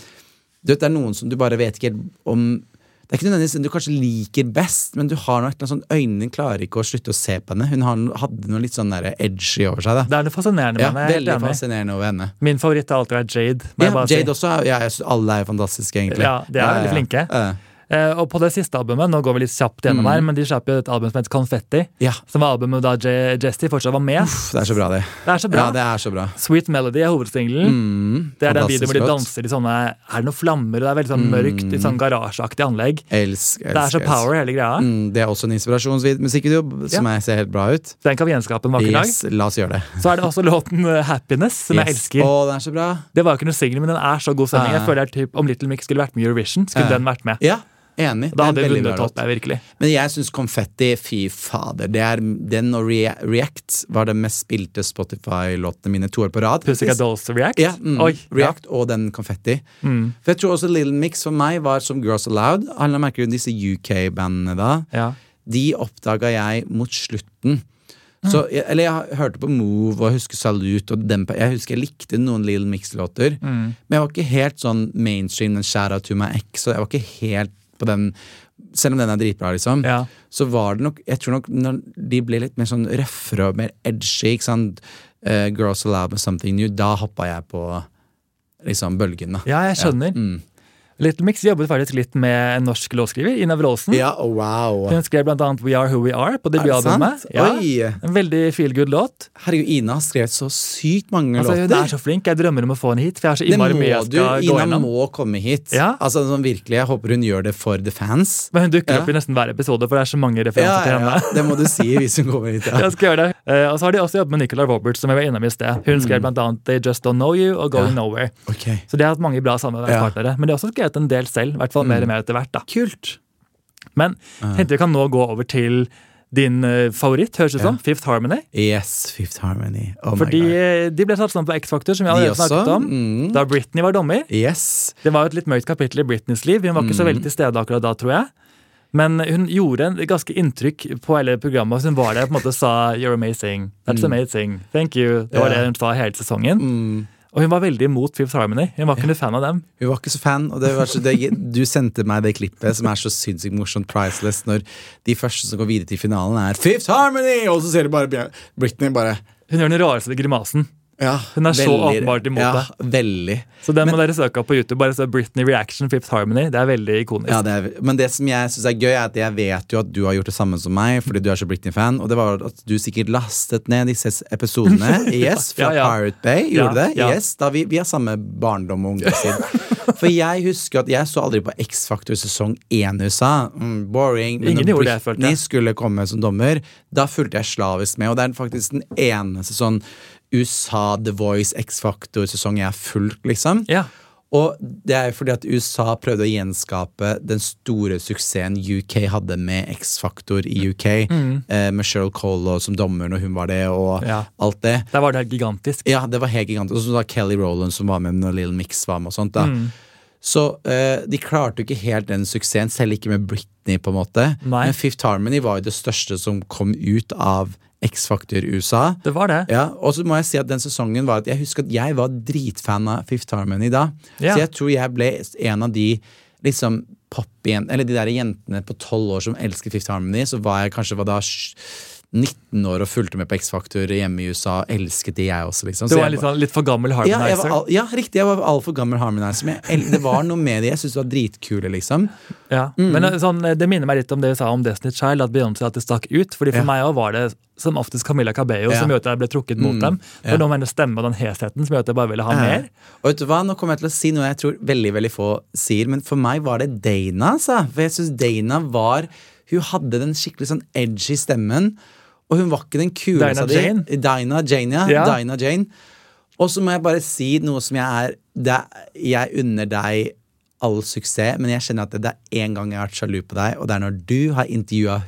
Speaker 2: du vet, Det er noen som du bare vet ikke helt om Det er ikke nødvendigvis den du kanskje liker best, men du har noe, et eller annet sånn, øynene dine klarer ikke å slutte å se på henne. Hun har- hadde noe litt sånn der edgy over seg. da
Speaker 1: Det er noe fascinerende
Speaker 2: ja,
Speaker 1: med henne. jeg
Speaker 2: Veldig
Speaker 1: er helt enig.
Speaker 2: fascinerende over henne.
Speaker 1: Min favoritt har alltid vært Jade. må
Speaker 2: Ja,
Speaker 1: jeg bare si.
Speaker 2: Jade også. er- Ja, jeg synes alle er jo fantastiske, egentlig.
Speaker 1: Ja, de er veldig flinke.
Speaker 2: Ja.
Speaker 1: Eh, og på det siste albumet, nå går vi litt kjapt gjennom
Speaker 2: Mm.
Speaker 1: her, men de slapp jo et album som heter Confetti.
Speaker 2: Ja.
Speaker 1: Som var albumet da Je- Jessie fortsatt var med.
Speaker 2: Uff, det er så bra, det.
Speaker 1: Det er så bra.
Speaker 2: Ja, det er så bra. Mm,
Speaker 1: Sweet Melody er hovedsingelen. det er den videoen hvor de
Speaker 2: fantastisk
Speaker 1: danser i sånne Er det noen flammer, og det er veldig sånn mørkt, litt sånn garasjeaktig anlegg.
Speaker 2: Elsk, elsk,
Speaker 1: Det er så
Speaker 2: elsk.
Speaker 1: power, hele greia.
Speaker 2: Mm, det er også en inspirasjonsvid musikkvideo som
Speaker 1: Ja.
Speaker 2: jeg ser helt bra ut.
Speaker 1: Så Den kan vi gjenskape en vakker
Speaker 2: Yes, la oss gjøre det.
Speaker 1: dag. Så er det også låten eh, Happiness, som jeg
Speaker 2: Yes.
Speaker 1: elsker.
Speaker 2: Å, den er så bra.
Speaker 1: Det var jo ikke noe singel, men den er så god stemning. Jeg
Speaker 2: Ja.
Speaker 1: føler det er typ, Om Little Mix skulle vært med i Eurovision, skulle
Speaker 2: Ja.
Speaker 1: den vært med.
Speaker 2: Ah. Ja, enig.
Speaker 1: Da
Speaker 2: Det
Speaker 1: hadde
Speaker 2: er
Speaker 1: vi
Speaker 2: en veldig bra
Speaker 1: vunnet
Speaker 2: låt.
Speaker 1: topp, jeg, virkelig.
Speaker 2: Men jeg syns Konfetti, fy fader. Det er den og Re React var de mest spilte Spotify-låtene mine to år på rad.
Speaker 1: Pussycat
Speaker 2: faktisk.
Speaker 1: Dolls og React.
Speaker 2: Ja, mm,
Speaker 1: Oi, Mm.
Speaker 2: React og den konfetti. For jeg tror også Little Mix for meg var som Girls Aloud. Alle merker jo disse UK-bandene da.
Speaker 1: Ja.
Speaker 2: De oppdaga jeg mot slutten. Så, jeg, eller jeg hørte på Move og jeg husker Salute. Og den, jeg husker jeg likte noen Little Mix-låter. Men jeg var ikke helt sånn mainstream, den Shout Out To My Ex. Så jeg var ikke helt på den Selv om den er dritbra, liksom.
Speaker 1: Ja.
Speaker 2: Så var det nok Jeg tror nok når de ble litt mer sånn røffere og mer edgy, ikke sant. eh, Girls Allowed med Something New. Da hoppa jeg på liksom, bølgen. da.
Speaker 1: Ja, jeg skjønner.
Speaker 2: mm.
Speaker 1: Little Mix jobbet faktisk litt med en norsk låtskriver, Ina Wroldsen.
Speaker 2: Ja, oh, wow.
Speaker 1: Hun skrev blant annet We Are Who We Are på
Speaker 2: Er det
Speaker 1: debutalbumet.
Speaker 2: sant?
Speaker 1: Ja,
Speaker 2: Oi.
Speaker 1: en veldig feel good låt.
Speaker 2: Herregud, Ina har skrevet så sykt mange
Speaker 1: Altså, hun
Speaker 2: låter.
Speaker 1: er så flink. Jeg drømmer om å få henne hit, for jeg har så
Speaker 2: det må
Speaker 1: innmari mye jeg
Speaker 2: du.
Speaker 1: skal gå
Speaker 2: Ina
Speaker 1: gjennom.
Speaker 2: må komme hit.
Speaker 1: Ja.
Speaker 2: Altså, sånn, virkelig, Jeg håper hun gjør det for the fans.
Speaker 1: Men hun dukker opp
Speaker 2: Ja.
Speaker 1: i nesten hver episode, for det er så mange
Speaker 2: Ja,
Speaker 1: referanser til
Speaker 2: ja,
Speaker 1: henne.
Speaker 2: ja, det må du si hvis hun kommer hit. Ja.
Speaker 1: Jeg skal gjøre det. Eh, og så har de også jobbet med Nicola Roberts, som jeg var innom i sted. Hun skrev blant annet They Just Don't Know You og Going
Speaker 2: Mm. Ja.
Speaker 1: Nowhere.
Speaker 2: Ok,
Speaker 1: Så de har hatt mange bra samarbeidspartnere. Men de har også skrevet en del selv. I hvert fall
Speaker 2: Mm.
Speaker 1: mer og mer etter hvert. da.
Speaker 2: Kult.
Speaker 1: Men jeg tenkte vi kan nå gå over til din eh, favoritt, høres det ut som. Fifth Harmony.
Speaker 2: Yes, Fifth Harmony. Oh my
Speaker 1: Fordi
Speaker 2: God.
Speaker 1: eh, de ble satt sammen på X-Factor, som vi allerede
Speaker 2: også?
Speaker 1: snakket om.
Speaker 2: Mm.
Speaker 1: Da Britney var dommer.
Speaker 2: Yes.
Speaker 1: Det var jo et litt mørkt kapittel i Britneys liv. Hun var ikke så
Speaker 2: Mm.
Speaker 1: veldig til stede akkurat da, tror jeg. Men hun gjorde en ganske inntrykk på hele programmet. Hun var der og på en måte sa 'You're amazing'. 'That's amazing'. 'Thank you'. Det var
Speaker 2: Mm. Ja. Mm.
Speaker 1: det hun sa hele sesongen. Og hun var veldig imot Fifth Harmony. Hun var ikke noe fan av dem.
Speaker 2: Hun var ikke så fan. Og det var så, det, du sendte meg det klippet som er så sinnssykt morsomt priceless, når de første som går videre til finalen, er Fifth Harmony! Og så ser du bare Bjørn- Britney bare
Speaker 1: Hun gjør den rareste grimasen.
Speaker 2: ja,
Speaker 1: Hun er så åpenbart imot
Speaker 2: ja,
Speaker 1: det.
Speaker 2: Veldig.
Speaker 1: Så den må dere søke opp på YouTube. Bare se Britney Reaction Fifth Harmony. Det er veldig ikonisk.
Speaker 2: Ja, det er, men det som jeg synes er gøy, er at jeg vet jo at du har gjort det samme som meg, fordi du er så Britney-fan, og det var at du sikkert lastet ned disse episodene yes,
Speaker 1: Ja,
Speaker 2: fra
Speaker 1: ja.
Speaker 2: Pirate Bay.
Speaker 1: Ja,
Speaker 2: Gjorde du det?
Speaker 1: ja.
Speaker 2: Yes, da vi, vi har samme barndom og ungdomstid. For jeg husker at jeg så aldri på X-Factor sesong 1 i USA. Mm, boring. Men
Speaker 1: Ingen
Speaker 2: når
Speaker 1: gjorde det, følte
Speaker 2: Britney
Speaker 1: jeg.
Speaker 2: skulle komme som dommer, da fulgte jeg slavisk med, og det er faktisk den eneste sånn USA The Voice X-Factor-sesong jeg har fulgt, liksom.
Speaker 1: Ja.
Speaker 2: Og det er jo fordi at USA prøvde å gjenskape den store suksessen UK hadde med X-Faktor i UK, eh, med Cheryl Cole og som dommer når hun var det, og
Speaker 1: Mm. Ja.
Speaker 2: alt det.
Speaker 1: Der var det helt gigantisk.
Speaker 2: Ja, det var helt gigantisk. Og så da Kelly Rowland som var med når Little Mix var med og sånt. da.
Speaker 1: Mm.
Speaker 2: Så eh, de klarte jo ikke helt den suksessen, selv ikke med Britney, på en måte.
Speaker 1: Nei.
Speaker 2: Men Fifth Harmony var jo det største som kom ut av X-Faktor USA.
Speaker 1: Det var det.
Speaker 2: Ja, og så må jeg si at den sesongen var at jeg husker at jeg var dritfan av Fifth Harmony da.
Speaker 1: Ja.
Speaker 2: Så jeg tror jeg ble en av de liksom popjen- eller de der jentene på tolv år som elsker Fifth Harmony. Så var jeg kanskje var da sj- 19 år og fulgte med på X-Faktor hjemme i USA. Elsket det jeg også, liksom.
Speaker 1: Det
Speaker 2: Så
Speaker 1: var en
Speaker 2: jeg
Speaker 1: litt, sånn, litt for gammel
Speaker 2: ja, jeg var
Speaker 1: harmonizer.
Speaker 2: al, ja, riktig. Jeg var altfor gammel Harmonizer. Men jeg, el- det var noe med det. Jeg syntes det var dritkule, liksom.
Speaker 1: Ja, men eh, sånn, eh, Det minner meg litt om det vi sa om Destiny's Child, at Beyoncé alltid stakk ut. fordi For
Speaker 2: Ja.
Speaker 1: meg også var det som oftest Camilla Cabello
Speaker 2: Ja. Mm.
Speaker 1: som gjorde at jeg ble trukket mot dem. Det
Speaker 2: Ja.
Speaker 1: var noe med hennes stemme og den hesheten som gjorde at jeg bare ville ha mer.
Speaker 2: Og vet du hva, Nå kommer jeg til å si noe jeg tror veldig veldig få sier, men for meg var det Dana. Altså. For jeg synes Dana var Hun hadde den skikkelig sånn edgy stemmen. Og hun var ikke den kuleste
Speaker 1: Dinah
Speaker 2: av de.
Speaker 1: Jane?
Speaker 2: Dinah Jane, ja.
Speaker 1: Ja.
Speaker 2: Dinah Jane. Og så må jeg bare si noe som jeg er det, er- Jeg unner deg all suksess, men jeg kjenner at det, det er én gang jeg har vært sjalu på deg, og det er når du har intervjua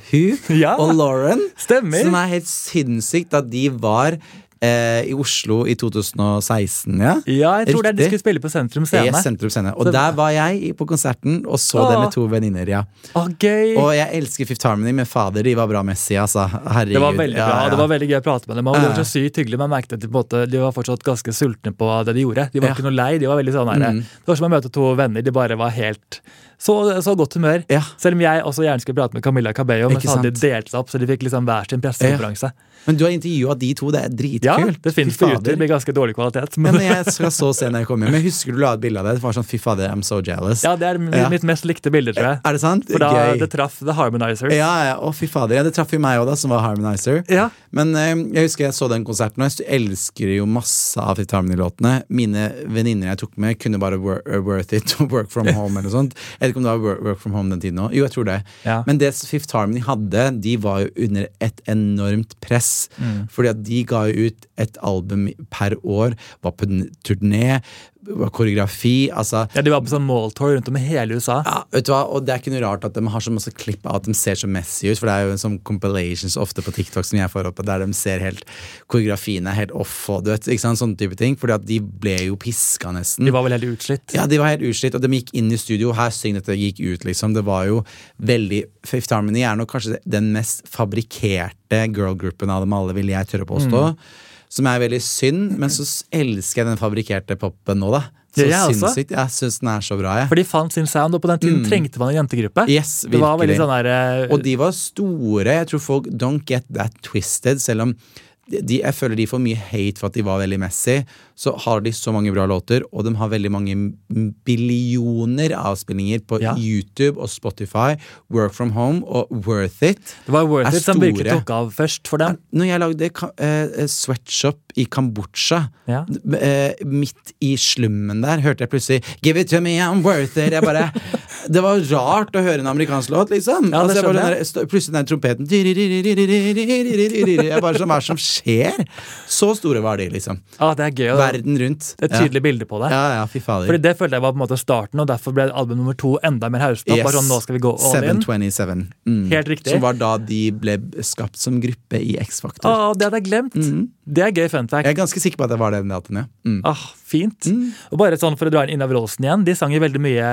Speaker 2: hun
Speaker 1: Ja.
Speaker 2: og Lauren.
Speaker 1: Stemmer.
Speaker 2: Som er helt sinnssykt at de var eh, i Oslo i 2016, ja.
Speaker 1: Ja, jeg tror det er de
Speaker 2: Riktig.
Speaker 1: skulle spille på Sentrum
Speaker 2: Det
Speaker 1: Scene.
Speaker 2: er Sentrum Scene. Og
Speaker 1: Så-
Speaker 2: der var jeg i- på konserten og så
Speaker 1: Åh.
Speaker 2: det med to venninner. Ja.
Speaker 1: Å, gøy!
Speaker 2: Og jeg elsker Fifth Harmony, men fader, de var bra Messi, altså. Herregud.
Speaker 1: det var veldig bra,
Speaker 2: Ja, ja.
Speaker 1: og det var veldig gøy å prate med dem. Og det var så sykt hyggelig, Man merket at de, på en måte, de var fortsatt ganske sultne på det de gjorde. De var
Speaker 2: Ja. Mm.
Speaker 1: ikke noe lei. de var veldig sånn der, Det var som å møte to venner. De bare var helt så, så godt humør.
Speaker 2: Ja.
Speaker 1: Selv om jeg også gjerne skulle prate med Camilla Cabello, men
Speaker 2: Ikke
Speaker 1: så hadde
Speaker 2: sant?
Speaker 1: de delt seg opp, så de fikk liksom hver sin pressekonferanse.
Speaker 2: Men du har intervjua de to, det er dritkult.
Speaker 1: Ja, det finnes på
Speaker 2: Fy
Speaker 1: YouTube liksom.
Speaker 2: fader.
Speaker 1: med ganske dårlig kvalitet.
Speaker 2: Ja,
Speaker 1: Men
Speaker 2: men jeg skal så se når jeg kommer hjem. Men Husker du la et bilde av det? Det var sånn fy fader, I'm so jealous.
Speaker 1: ja, det er mi-
Speaker 2: Ja.
Speaker 1: mitt mest likte bilde, tror jeg.
Speaker 2: Er det sant?
Speaker 1: For da
Speaker 2: Gøy.
Speaker 1: det traff The Harmonizers.
Speaker 2: Ja, ja, å fy fader. Ja, det traff jo meg òg, da, som var Harmonizer.
Speaker 1: Ja.
Speaker 2: Men eh, jeg husker jeg så den konserten, og jeg elsker jo masse av Fifth Harmony-låtene. Mine venninner jeg tok med, kunne bare wor uh, Worth It og Work From Home eller noe sånt. Jeg vet ikke om det var Work, work From Home den tiden òg. Jo, jeg tror det.
Speaker 1: Ja.
Speaker 2: Men det Fifth Harmony hadde, de var jo under et enormt press. Fordi at de ga jo ut et album per år, var på n- turné, var koreografi, altså
Speaker 1: Ja, De var på sånn mall-tour rundt om i hele USA.
Speaker 2: ja, vet du hva, og Det er ikke noe rart at de har så masse klipp av at de ser så messy ut. For det er jo en sånn compilations ofte på TikTok som jeg får opp, der de ser helt koreografien er helt off. og du vet, ikke sant, sånne type ting, Fordi at de ble jo piska nesten.
Speaker 1: De var vel helt utslitt.
Speaker 2: Ja, de var helt utslitt, og de gikk inn i studio. Her syng dette gikk ut, liksom. Det var jo veldig Fifth Harmony er nok kanskje den mest fabrikkerte girlgruppen av dem alle, vil jeg tørre å påstå.
Speaker 1: Mm.
Speaker 2: Som er veldig synd, men så s- elsker jeg den fabrikkerte popen nå, da. Så
Speaker 1: Ja, jeg også.
Speaker 2: sinnssykt. Jeg syns den er så bra, jeg.
Speaker 1: For de fant sin sound, og på den tiden trengte man en jentegruppe.
Speaker 2: Mm. Yes,
Speaker 1: det var veldig
Speaker 2: virkelig.
Speaker 1: sånn der, eh,
Speaker 2: Og de var store. Jeg tror folk don't get that twisted, selv om de, jeg føler de får mye hate for at de var veldig Messi. Så har de så mange bra låter, og de har veldig mange m- billioner avspillinger på
Speaker 1: Ja.
Speaker 2: YouTube og Spotify. Work from home og Worth It.
Speaker 1: Det var Worth
Speaker 2: er
Speaker 1: It som virkelig
Speaker 2: store.
Speaker 1: tok av først for dem.
Speaker 2: Når jeg lagde ka- eh, Sweatshop i Kambodsja,
Speaker 1: Ja.
Speaker 2: eh, midt i slummen der, hørte jeg plutselig Give it to me, I'm worth it. Jeg bare, det var rart å høre en amerikansk låt, liksom.
Speaker 1: Ja, det
Speaker 2: jeg
Speaker 1: skjønner jeg.
Speaker 2: bare, den der- stå- plutselig den der trompeten Jeg bare sånn, Hva er det som skjer? Så store var de, liksom.
Speaker 1: Ah, det er gøy. og
Speaker 2: Verden rundt.
Speaker 1: Det er et tydelig bilde på
Speaker 2: Ja,
Speaker 1: det.
Speaker 2: ja, ja fy fader.
Speaker 1: Fordi Det følte jeg var på en måte starten, og derfor ble album nummer to enda mer haustopp. Bare sånn, nå skal vi gå all in.
Speaker 2: 727. Mm.
Speaker 1: Helt riktig.
Speaker 2: Som var da de ble skapt som gruppe i X-Factor.
Speaker 1: Å, det hadde jeg glemt!
Speaker 2: Mhm.
Speaker 1: Det er gøy fun fact.
Speaker 2: Jeg er ganske sikker på at det var den datoen, ja. Mm.
Speaker 1: Ah, fint. Og bare sånn for å dra inn Inav Rolsen igjen. De sang jo veldig mye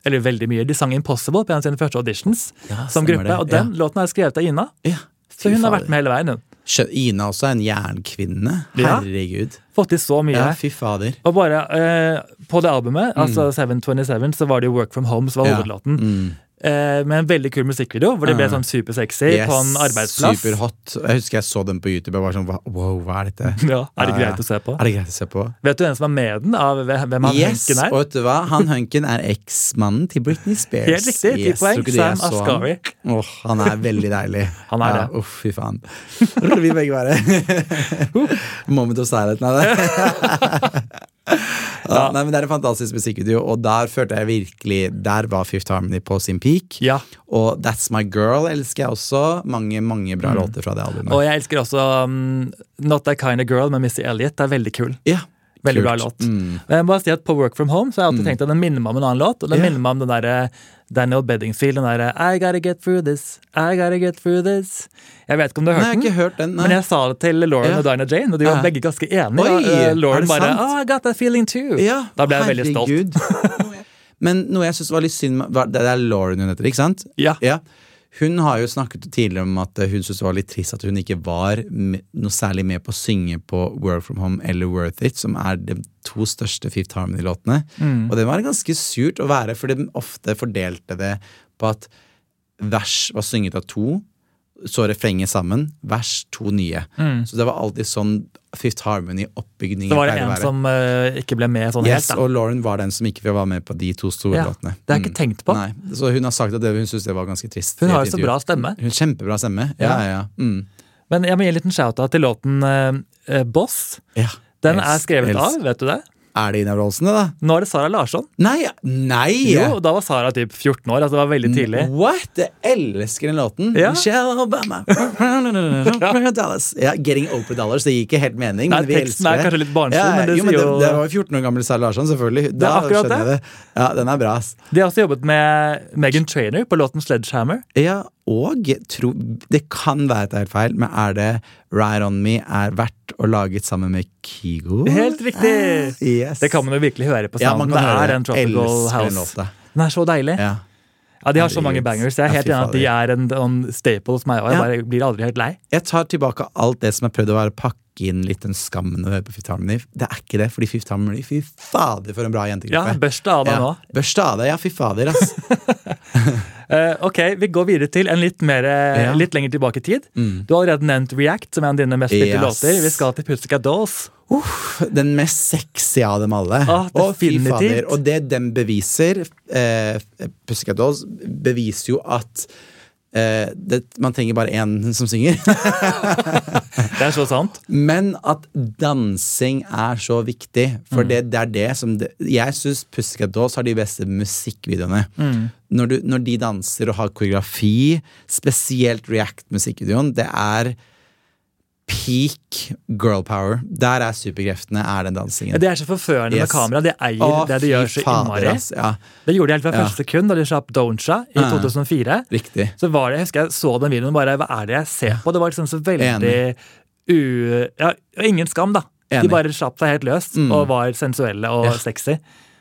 Speaker 1: Eller veldig mye, de sang Impossible på en av sine første auditions
Speaker 2: Ja,
Speaker 1: som
Speaker 2: stemmer
Speaker 1: gruppe.
Speaker 2: det.
Speaker 1: Og den låten er skrevet av Ina,
Speaker 2: Ja.
Speaker 1: så
Speaker 2: Fy
Speaker 1: hun har
Speaker 2: fader.
Speaker 1: vært med hele veien. hun.
Speaker 2: Skjø- Ina også er en jernkvinne.
Speaker 1: Ja.
Speaker 2: Herregud.
Speaker 1: Fått til så mye.
Speaker 2: Ja, fy fader.
Speaker 1: Og bare eh, på det albumet, altså 727, så var det jo Work From Home som var
Speaker 2: Ja.
Speaker 1: hovedlåten.
Speaker 2: Mm.
Speaker 1: Eh, med en veldig kul musikkvideo, hvor det ble
Speaker 2: Ja.
Speaker 1: sånn supersexy
Speaker 2: Yes,
Speaker 1: på en arbeidsplass.
Speaker 2: Superhot. Jeg husker jeg så den på YouTube. Jeg var sånn, "Hva- wow, hva er dette?
Speaker 1: Ja, er det
Speaker 2: Ja, ja.
Speaker 1: greit å se på?
Speaker 2: Er det greit å se på?
Speaker 1: Vet du hvem som er med den? Av hvem han
Speaker 2: yes,
Speaker 1: Henken er?
Speaker 2: og vet du hva? Han Hunken er eksmannen til Britney Spears.
Speaker 1: Helt riktig, ti
Speaker 2: Yes,
Speaker 1: poeng.
Speaker 2: tror ikke du jeg
Speaker 1: Sam
Speaker 2: så han?
Speaker 1: Asghari.
Speaker 2: Åh, han er veldig deilig.
Speaker 1: Han er
Speaker 2: ja,
Speaker 1: det.
Speaker 2: Uff, fy faen. Det burde vi begge være. Moment of silence, nei det. ja, nei, men det er en fantastisk musikkvideo, og der følte jeg virkelig Der var Fifth Harmony på sin peak.
Speaker 1: Ja.
Speaker 2: Og That's My Girl elsker jeg også. Mange, mange
Speaker 1: Mm.
Speaker 2: bra låter fra det albumet.
Speaker 1: Og jeg elsker også um, Not That Kind of Girl med Missy Elliot. Det er veldig kul.
Speaker 2: ja,
Speaker 1: Veldig
Speaker 2: kult.
Speaker 1: bra låt.
Speaker 2: Mm.
Speaker 1: Og Jeg må bare si at På Work From Home så har jeg alltid tenkt at den minner meg om en annen låt. Og den
Speaker 2: Ja.
Speaker 1: minner meg om den derre Daniel Beddingfield. Den derre I gotta get through this, I gotta get through this. Jeg vet ikke om du har
Speaker 2: Nei,
Speaker 1: hørt
Speaker 2: jeg har ikke
Speaker 1: den?
Speaker 2: hørt den. Nei.
Speaker 1: Men jeg sa det til Lauren
Speaker 2: Ja.
Speaker 1: og Dinah Jane, og de var
Speaker 2: Ja.
Speaker 1: begge ganske enige.
Speaker 2: Oi,
Speaker 1: og, eh,
Speaker 2: er
Speaker 1: Lauren
Speaker 2: det
Speaker 1: bare
Speaker 2: sant?
Speaker 1: oh, I got that feeling too.
Speaker 2: Ja,
Speaker 1: Da ble jeg veldig stolt.
Speaker 2: stolt. Men noe jeg syns var litt synd med- var- Det er Lauren hun heter, ikke sant?
Speaker 1: Ja.
Speaker 2: Hun har jo snakket tidligere om at hun syntes det var litt trist at hun ikke var med, noe særlig med på å synge på Work From Home eller Worth It, som er de to største Fifth Harmony-låtene.
Speaker 1: Mm.
Speaker 2: Og det var ganske surt å være, for de ofte fordelte det på at vers var synget av to, så refrenget sammen, vers to nye. Så det var alltid sånn Fifth
Speaker 1: Mm.
Speaker 2: Harmony-oppbygningen
Speaker 1: Så var det
Speaker 2: pleier å
Speaker 1: en
Speaker 2: være.
Speaker 1: som eh, ikke ble med sånn
Speaker 2: Yes,
Speaker 1: helt.
Speaker 2: og Lauren var den som ikke ville være med på de to store
Speaker 1: Da. Ja.
Speaker 2: låtene.
Speaker 1: Det har jeg ikke
Speaker 2: Mm.
Speaker 1: tenkt på.
Speaker 2: Nei, så hun har sagt at det, hun syntes det var ganske trist.
Speaker 1: Hun
Speaker 2: i
Speaker 1: har
Speaker 2: et
Speaker 1: jo så
Speaker 2: intervju.
Speaker 1: bra stemme.
Speaker 2: Hun Kjempebra stemme. Ja,
Speaker 1: Ja.
Speaker 2: ja, ja. Mm.
Speaker 1: Men jeg må gi en liten shout-out til låten eh, eh, Boss.
Speaker 2: ja.
Speaker 1: Den
Speaker 2: Els-
Speaker 1: er skrevet
Speaker 2: Els.
Speaker 1: av, vet du det?
Speaker 2: Er det Ina Rolsen, det, da?
Speaker 1: Nå er det Sara Larsson.
Speaker 2: Nei! nei
Speaker 1: Jo, og da var Sara typ 14 år. altså det var
Speaker 2: Mm.
Speaker 1: veldig tidlig.
Speaker 2: What? Jeg elsker den låten.
Speaker 1: Ja.
Speaker 2: Michelle Obama. Dallas. Ja, Getting Oprah Dollars. Det gir ikke helt mening.
Speaker 1: Nei,
Speaker 2: men vi
Speaker 1: teksten
Speaker 2: elsker
Speaker 1: er
Speaker 2: det.
Speaker 1: kanskje litt barnslig,
Speaker 2: ja,
Speaker 1: men det
Speaker 2: jo, men
Speaker 1: sier
Speaker 2: det,
Speaker 1: jo-
Speaker 2: det var jo 14 år gamle Sarah Larsson, selvfølgelig. Da
Speaker 1: er akkurat
Speaker 2: skjønner jeg det. Ja, Den er bra. ass.
Speaker 1: De har også jobbet med Megan Trainer på låten 'Sledgehammer'.
Speaker 2: Ja, og tro, det kan være at det er feil, men er det Right On Me er verdt å lage sammen med Kygo? Ah,
Speaker 1: Helt riktig!
Speaker 2: Yes.
Speaker 1: Det kan man jo virkelig høre på
Speaker 2: ja, man
Speaker 1: sounden.
Speaker 2: kan
Speaker 1: det
Speaker 2: høre
Speaker 1: er en Tropical
Speaker 2: Elsker den
Speaker 1: House.
Speaker 2: låta.
Speaker 1: Den er så deilig. Ja,
Speaker 2: Ja.
Speaker 1: De har så mange
Speaker 2: Herregud.
Speaker 1: bangers. Jeg er
Speaker 2: Ja,
Speaker 1: helt
Speaker 2: fy
Speaker 1: enig at de er en, en staple hos meg òg. Jeg
Speaker 2: Ja.
Speaker 1: bare blir aldri helt lei.
Speaker 2: Jeg tar tilbake alt det som jeg prøvde å være pakke inn litt den skammen å høre på Fifth Harmony. Det er ikke det, fordi Fifth Harmony Fy fader, for en bra
Speaker 1: Ja,
Speaker 2: jentegruppe.
Speaker 1: Børsta av deg nå.
Speaker 2: Børsta av deg, ja, fy fader, ass.
Speaker 1: Eh, ok, Vi går videre til en litt, mer, eh,
Speaker 2: Ja. Mm.
Speaker 1: litt lenger tilbake i tid. Du har allerede nevnt React, som er en av dine mest spilte
Speaker 2: Yes.
Speaker 1: låter. Vi skal til Pussycat Dolls.
Speaker 2: Den mest sexy av dem alle.
Speaker 1: Ah,
Speaker 2: Å, fy
Speaker 1: definitivt.
Speaker 2: fader. Og det dem beviser, eh, Pussycat Dolls, beviser jo at eh, det, man trenger bare én som synger.
Speaker 1: Det er så sant.
Speaker 2: Men at dansing er så
Speaker 1: Mm.
Speaker 2: viktig, for det, det er det som det, Jeg syns Pussycat Dolls har de beste musikkvideoene.
Speaker 1: Mm.
Speaker 2: Når, du, når de danser og har koreografi, spesielt React-musikkvideoen, det er peak girl power. Der er superkreftene, er den dansingen.
Speaker 1: Ja, Det er så forførende med
Speaker 2: Yes.
Speaker 1: kamera. De eier
Speaker 2: Å,
Speaker 1: det de
Speaker 2: fy
Speaker 1: gjør så
Speaker 2: fader,
Speaker 1: innmari.
Speaker 2: ass. Ja,
Speaker 1: Det gjorde de helt fra
Speaker 2: Ja.
Speaker 1: første sekund da de slapp Doncha i
Speaker 2: Ja.
Speaker 1: 2004.
Speaker 2: riktig.
Speaker 1: Så var det, jeg husker jeg så den videoen og bare Hva er det jeg ser på? Det var liksom så veldig
Speaker 2: Enig.
Speaker 1: u... Ja, og ingen skam, da. De
Speaker 2: Enig. Mm.
Speaker 1: bare slapp seg helt løs og var sensuelle og sexy.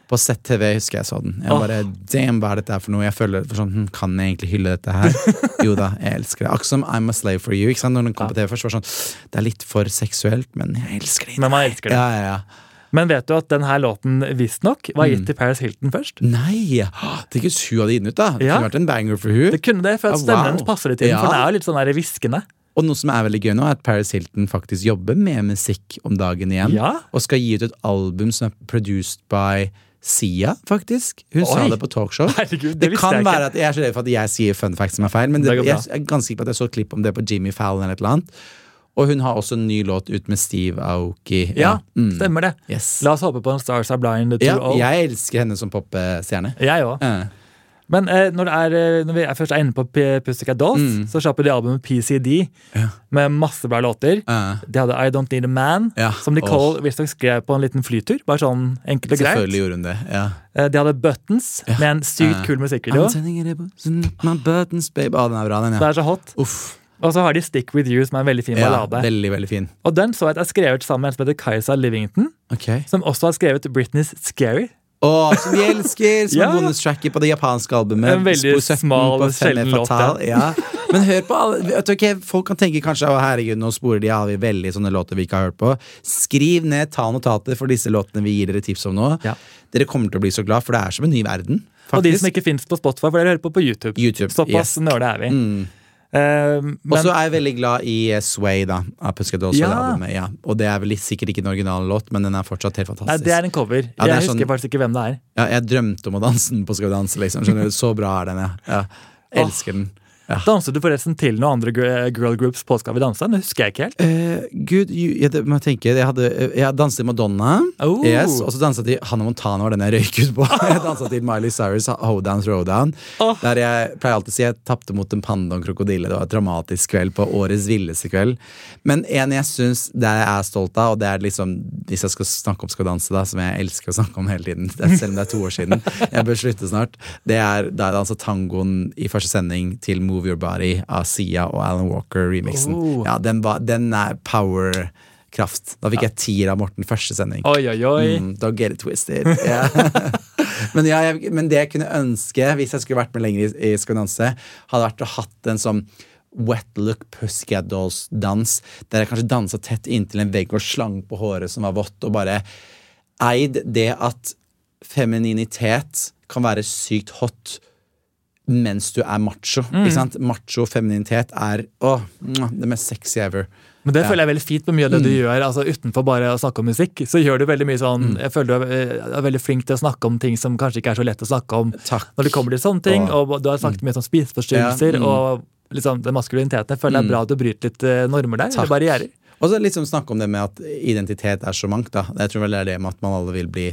Speaker 2: På ZTV husker jeg så den. Jeg
Speaker 1: Åh.
Speaker 2: bare, Damn, hva er dette her for noe? Jeg føler for sånn, hm, Kan jeg egentlig hylle dette her? jo da, jeg elsker det. Akkurat som I'm a slave for you. Ikke sant? Når den kom på TV først, var det sånn Det er litt for seksuelt, men jeg elsker det.
Speaker 1: Men man elsker det.
Speaker 2: Ja, ja, ja.
Speaker 1: Men vet du at denne låten visstnok var
Speaker 2: Mm.
Speaker 1: gitt til Paris Hilton først?
Speaker 2: Nei! Tenk hvis hun hadde gitt den ut, da. Det
Speaker 1: Ja.
Speaker 2: kunne vært en banger for hun
Speaker 1: Det kunne det, for
Speaker 2: Ah,
Speaker 1: at stemmen
Speaker 2: wow.
Speaker 1: hennes passer litt inn, for
Speaker 2: Ja.
Speaker 1: den er jo litt sånn der hviskende.
Speaker 2: Å, Og noe som er veldig gøy nå, er at Paris Hilton faktisk jobber med musikk om dagen igjen.
Speaker 1: Ja.
Speaker 2: Og skal gi ut et album som er produced by Sia, faktisk. Hun sa
Speaker 1: Oi.
Speaker 2: det på talkshow.
Speaker 1: Herregud, det
Speaker 2: det
Speaker 1: visste
Speaker 2: kan
Speaker 1: jeg ikke.
Speaker 2: være at jeg er så redd for at jeg sier fun facts som er feil, men det,
Speaker 1: Det går bra.
Speaker 2: jeg er ganske sikker på at jeg så et klipp om det på Jimmy Fallon eller et eller annet. Og hun har også en ny låt ut med Steve Aoki.
Speaker 1: Ja,
Speaker 2: Mm.
Speaker 1: stemmer det.
Speaker 2: Yes.
Speaker 1: La oss håpe på en Stars Are Blind 2.0.
Speaker 2: Ja, jeg elsker henne som popstjerne.
Speaker 1: Jeg òg.
Speaker 2: Eh.
Speaker 1: Men eh, når, det er, eh, når vi er først er inne på P- Pussycat Dolls,
Speaker 2: Mm.
Speaker 1: så slapp de albumet PCD med masse bra låter.
Speaker 2: Ja.
Speaker 1: De hadde I Don't Need a Man,
Speaker 2: Ja,
Speaker 1: som Nicole visstnok skrev på en liten flytur. Bare sånn enkelt og greit.
Speaker 2: Selvfølgelig gjorde hun det. ja
Speaker 1: Eh, De hadde Buttons med en sykt
Speaker 2: Ja.
Speaker 1: kul musikkvideo.
Speaker 2: I'm sending it up, send up my buttons, babe. Ah, den er bra, den,
Speaker 1: Det
Speaker 2: ja.
Speaker 1: er så hot.
Speaker 2: Uff.
Speaker 1: Og så har de Stick With You, som er en veldig fin
Speaker 2: Ja,
Speaker 1: ballade.
Speaker 2: veldig, veldig fin.
Speaker 1: Og den så jeg at er skrevet sammen med en som heter Kajsa Livington,
Speaker 2: Ok
Speaker 1: som også har skrevet Britney's Scary.
Speaker 2: Å, som vi elsker! Som
Speaker 1: Ja.
Speaker 2: ja. bonustracket på det japanske albumet.
Speaker 1: En veldig
Speaker 2: Spor 17
Speaker 1: smal,
Speaker 2: på Femme
Speaker 1: sjelden låt,
Speaker 2: Fatale. Ja. Men hør på alle vet du, ok, Folk kan tenke kanskje å herregud, nå sporer de av i veldig sånne låter vi ikke har hørt på. Skriv ned, ta notater for disse låtene vi gir dere tips om nå.
Speaker 1: Ja.
Speaker 2: Dere kommer til å bli så glad, for det er som en ny verden.
Speaker 1: Og de
Speaker 2: Faktisk.
Speaker 1: som ikke fins på Spotify, for dere hører på på YouTube.
Speaker 2: YouTube,
Speaker 1: Såpass
Speaker 2: yes. Mm.
Speaker 1: nøle er vi. Eh, men,
Speaker 2: Og så er jeg veldig glad i eh, Sway, da. Av Pussycat Dolls og
Speaker 1: Ja.
Speaker 2: det albumet, ja. Og det er vel sikkert ikke den originale låt, men den er fortsatt helt
Speaker 1: nei,
Speaker 2: fantastisk.
Speaker 1: det er en cover.
Speaker 2: Ja, det er
Speaker 1: jeg husker
Speaker 2: sånn-
Speaker 1: faktisk ikke hvem det er.
Speaker 2: ja, jeg drømte om å danse den på Skal vi danse, liksom. Skjønner du? Så bra er den, ja. ja. Elsker den. Ja.
Speaker 1: Danset Ah. du forresten til noen andre gr- girl groups på Skal vi danse? Det husker jeg ikke helt.
Speaker 2: Eh, Gud, ju- jeg, det- må jeg tenke Jeg, hadde, eh, jeg danset til Madonna.
Speaker 1: Oh.
Speaker 2: Yes, og så dansa til Hannah Montana var den jeg røyk ut på. Jeg dansa til Miley Cyrus, Hoedown Throwdown.
Speaker 1: Åh.
Speaker 2: Der jeg pleier alltid å si jeg tapte mot en panda og en krokodille. Det var et dramatisk kveld på årets villeste kveld. Men en jeg syns det jeg er stolt av, og det er liksom hvis jeg skal snakke om Skal vi danse, da, som jeg elsker å snakke om hele tiden, det er, selv om det er to år siden, jeg bør slutte snart, det er da jeg dansa tangoen i første sending til Move Your Body av Sia og Alan Walker-remixen.
Speaker 1: Oh.
Speaker 2: Ja, den, var- den er power. Kraft. Da fikk jeg tier av Morten første sending.
Speaker 1: Oi, oi, oi.
Speaker 2: Mm, don't get it twisted. Ja. men, ja, jeg, men det jeg kunne ønske, hvis jeg skulle vært med lenger i, i Skal vi danse, hadde vært å hatt en sånn Wet look Pussycat Dolls-dans, der jeg kanskje dansa tett inntil en vegg og slang på håret som var vått, og bare eid det at femininitet kan være sykt hot mens du er macho. Ikke sant? Macho femininitet er åh, mwah, det mest sexy ever.
Speaker 1: Men det føler jeg er veldig fint med mye av det du gjør. altså Utenfor bare å snakke om musikk, så gjør du veldig mye sånn Jeg føler du er, eh, er veldig flink til å snakke om ting som kanskje ikke er så lett å snakke om.
Speaker 2: Takk.
Speaker 1: Når det kommer til sånne ting,
Speaker 2: Åh.
Speaker 1: og du har snakket mye om spiseforstyrrelser
Speaker 2: Ja, mm.
Speaker 1: og liksom den maskuliniteten. Jeg føler det er bra at du bryter litt eh, normer der. Eller barrierer.
Speaker 2: Og så liksom snakke om det med at identitet er så mangt. da. Jeg tror vel det er det med at man alle vil bli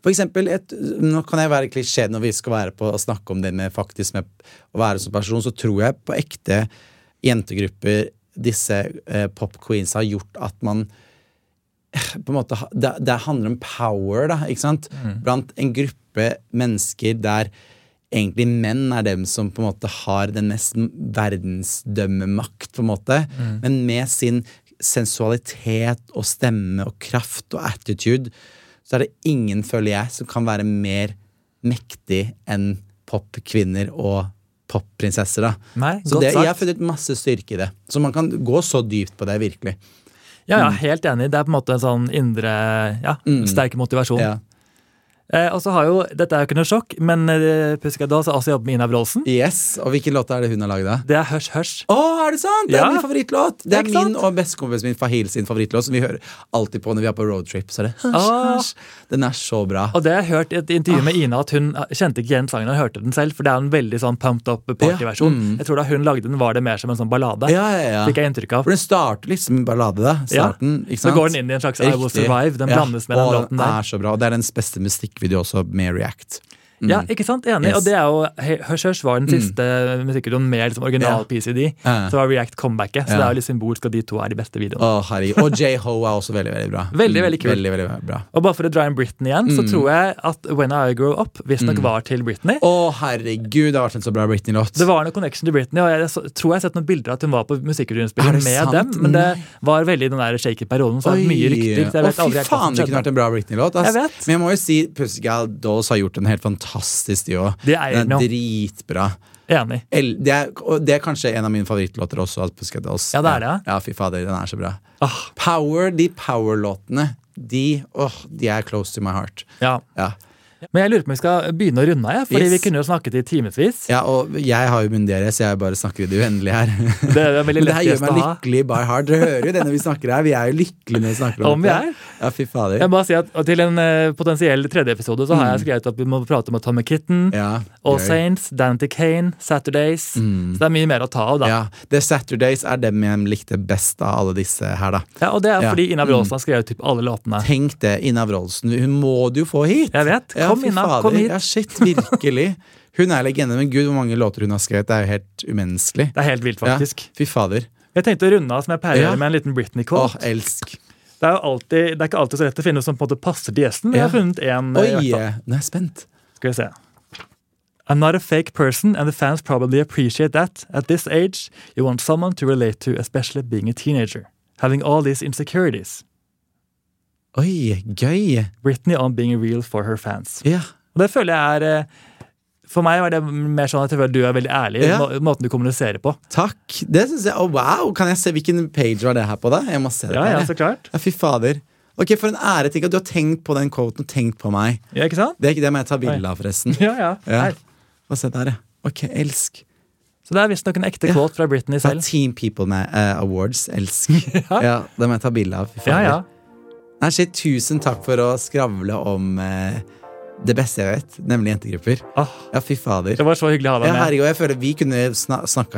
Speaker 2: For eksempel, et, Nå kan jeg være klisjé når vi skal være på å snakke om det med faktisk med å være som person, så tror jeg på ekte jentegrupper disse eh, pop queens har gjort at man på en måte, ha- det, det handler om power, da, ikke sant?
Speaker 1: Mm.
Speaker 2: Blant en gruppe mennesker der egentlig menn er dem som på en måte har den mest verdensdømmemakt, på en måte.
Speaker 1: Mm.
Speaker 2: Men med sin sensualitet og stemme og kraft og attitude, så er det ingen, føler jeg, som kan være mer mektig enn popkvinner og popprinsesser, da.
Speaker 1: Nei, Mm.
Speaker 2: så
Speaker 1: godt
Speaker 2: det,
Speaker 1: sagt.
Speaker 2: jeg har funnet masse styrke i det. Så man kan gå så dypt på det, virkelig.
Speaker 1: Ja, ja, helt enig. Det er på en måte en sånn indre ja, sterk motivasjon.
Speaker 2: Ja.
Speaker 1: Eh, og så har jo, Dette er jo ikke noe sjokk, men eh, Pussycat Dolls har også jobbet med Ina Wroldsen.
Speaker 2: Yes, Og hvilken låt er det hun har lagd, da?
Speaker 1: Det er Hush Hush.
Speaker 2: Å, er det sant? Det er
Speaker 1: Ja.
Speaker 2: min favorittlåt! Det er
Speaker 1: Ikke
Speaker 2: min
Speaker 1: sant?
Speaker 2: og bestekompisen min Fahil sin favorittlåt, som vi hører alltid på når vi er på roadtrip. Så er det hush,
Speaker 1: Ah.
Speaker 2: hush. Den er så bra.
Speaker 1: Og det har jeg hørt i et intervju
Speaker 2: Ah.
Speaker 1: med Ina at hun kjente ikke igjen sangen. Hun hørte den selv, for det er en veldig sånn pumped up partyversjon. Jeg tror da hun lagde den, var det mer som en sånn ballade.
Speaker 2: mm. Ja, ja,
Speaker 1: Fikk
Speaker 2: ja.
Speaker 1: jeg inntrykk av.
Speaker 2: For den starter liksom med ballade, da.
Speaker 1: Ja.
Speaker 2: Starten, ikke
Speaker 1: Så
Speaker 2: sant?
Speaker 1: går den inn i en slags I Will
Speaker 2: Riktig.
Speaker 1: Survive. Den
Speaker 2: Ja.
Speaker 1: blandes med den
Speaker 2: Å,
Speaker 1: låten der.
Speaker 2: er så bra. Og det er dens beste musikkvideo også, med React.
Speaker 1: Ja, ikke sant? Enig.
Speaker 2: Yes. Mm.
Speaker 1: Og det er jo, He- Hush Hush var den siste musikkvideoen med liksom original
Speaker 2: Ja.
Speaker 1: PCD.
Speaker 2: Ja.
Speaker 1: Så var React comebacket. Så det
Speaker 2: Ja.
Speaker 1: er jo litt symbolsk at de to er de beste videoene.
Speaker 2: Å, herregud. Og J-Ho er også veldig, veldig bra.
Speaker 1: Veldig,
Speaker 2: Mm,
Speaker 1: veldig kul.
Speaker 2: Veldig, veldig bra.
Speaker 1: Og bare for å dra inn Britney igjen,
Speaker 2: Mm.
Speaker 1: så tror jeg at When I Grow Up visstnok var til Britney.
Speaker 2: Å, herregud, det har vært en så bra Britney-låt.
Speaker 1: Det var noe connection til Britney, og jeg så, tror jeg har sett noen bilder av at hun var på
Speaker 2: Er
Speaker 1: musikkvideoinnspilling
Speaker 2: det
Speaker 1: med
Speaker 2: sant?
Speaker 1: dem, men det var veldig den der shaky-perioden, så det er mye rykter. Så jeg vet
Speaker 2: Å,
Speaker 1: aldri
Speaker 2: fy
Speaker 1: helt hva
Speaker 2: faen,
Speaker 1: som
Speaker 2: det kunne
Speaker 1: skjedde.
Speaker 2: vært en bra Britney-låt. ass.
Speaker 1: Jeg vet.
Speaker 2: Men jeg må jo si Pussycat Dolls har gjort en helt fantastisk, de òg.
Speaker 1: Det er den
Speaker 2: Den
Speaker 1: jo.
Speaker 2: er dritbra.
Speaker 1: Enig.
Speaker 2: El, det, er, og det er kanskje en av mine favorittlåter også. at Pussycat Dolls.
Speaker 1: Ja, det er det, ja.
Speaker 2: Ja, fy fader, den er så bra.
Speaker 1: Ah,
Speaker 2: Power, de power-låtene, de åh, de er close to my heart.
Speaker 1: ja.
Speaker 2: Ja.
Speaker 1: Men jeg lurer på om vi skal begynne å runde av, jeg, fordi
Speaker 2: Yes.
Speaker 1: vi kunne jo snakket i timevis.
Speaker 2: Ja, og jeg har jo munnen deres, jeg bare snakker i det uendelige her.
Speaker 1: Det er en veldig
Speaker 2: Men det
Speaker 1: lett
Speaker 2: her gjør
Speaker 1: gjest å
Speaker 2: meg
Speaker 1: ha.
Speaker 2: lykkelig by heart. Dere hører jo det når vi snakker her. Vi er jo lykkelige når vi snakker om,
Speaker 1: Om vi
Speaker 2: det.
Speaker 1: er.
Speaker 2: Ja, fy fader.
Speaker 1: Jeg må bare si at og Til en eh, potensiell tredje episode så har jeg skrevet at vi må prate om Tommy Kitten,
Speaker 2: Mm. Ja,
Speaker 1: All
Speaker 2: gøy. Mm.
Speaker 1: Saints, Dante Kane, Saturdays. Så det er mye mer å ta av, da. Ja.
Speaker 2: Ja, The Saturdays er dem jeg likte best av alle disse her, da.
Speaker 1: og det er
Speaker 2: Ja. Mm.
Speaker 1: fordi Ina Bråsen har skrevet typ alle låtene.
Speaker 2: Tenk det, Ina Wroldsen. Hun må du jo få hit!
Speaker 1: Jeg vet.
Speaker 2: Ja,
Speaker 1: Kom,
Speaker 2: fy
Speaker 1: Ina.
Speaker 2: fader.
Speaker 1: Kom hit.
Speaker 2: Ja, shit, virkelig. Hun er legende, men gud, hvor mange låter hun har skrevet. Det er jo helt umenneskelig.
Speaker 1: Det er helt vilt, faktisk.
Speaker 2: Ja, fy fader.
Speaker 1: Jeg tenkte å runde av som jeg pleier å
Speaker 2: Ja.
Speaker 1: gjøre med en liten
Speaker 2: Åh,
Speaker 1: Britney-quote.
Speaker 2: elsk.
Speaker 1: Det er jo alltid, det er ikke alltid så lett å finne noe som på en måte passer til gjesten. men Jeg har
Speaker 2: Ja.
Speaker 1: funnet en, eh,
Speaker 2: Oi,
Speaker 1: i hvert fall.
Speaker 2: nå er jeg spent.
Speaker 1: Skal vi se. I'm not a fake person, and the fans probably appreciate that. At this age, you want someone to relate to, especially being a teenager. Having all these insecurities.
Speaker 2: Oi, gøy.
Speaker 1: Britney on being real for her fans.
Speaker 2: Ja.
Speaker 1: Og det føler jeg er eh, For meg var det mer sånn at jeg føler du er veldig ærlig i
Speaker 2: Ja.
Speaker 1: må- måten du kommuniserer på.
Speaker 2: Takk. Det synes jeg, oh, Wow, kan jeg se hvilken page var det her på? da? Jeg må se det
Speaker 1: Ja,
Speaker 2: her,
Speaker 1: ja,
Speaker 2: jeg.
Speaker 1: så klart.
Speaker 2: ja, Fy fader. Ok, For en ære. Tenk at du har tenkt på den quoten og tenkt på meg.
Speaker 1: Ja, ikke sant?
Speaker 2: Det er ikke det, men jeg tar bilde av, forresten.
Speaker 1: Ja, ja.
Speaker 2: Ja.
Speaker 1: Her.
Speaker 2: Få se der, ja. Ok, elsk.
Speaker 1: Så det er visstnok en ekte
Speaker 2: Ja.
Speaker 1: quote fra Britney
Speaker 2: Ta
Speaker 1: selv.
Speaker 2: Team People med, eh, Awards. Elsk. ja. det må jeg ta bilde av. Fy
Speaker 1: Ja,
Speaker 2: fader.
Speaker 1: ja.
Speaker 2: Nei, shit, tusen takk for å skravle om eh, det beste jeg vet, nemlig jentegrupper.
Speaker 1: Åh,
Speaker 2: Ja, fy fader.
Speaker 1: det var så hyggelig å ha
Speaker 2: Ja,
Speaker 1: deg med.
Speaker 2: herregud, jeg føler vi kunne sna snakka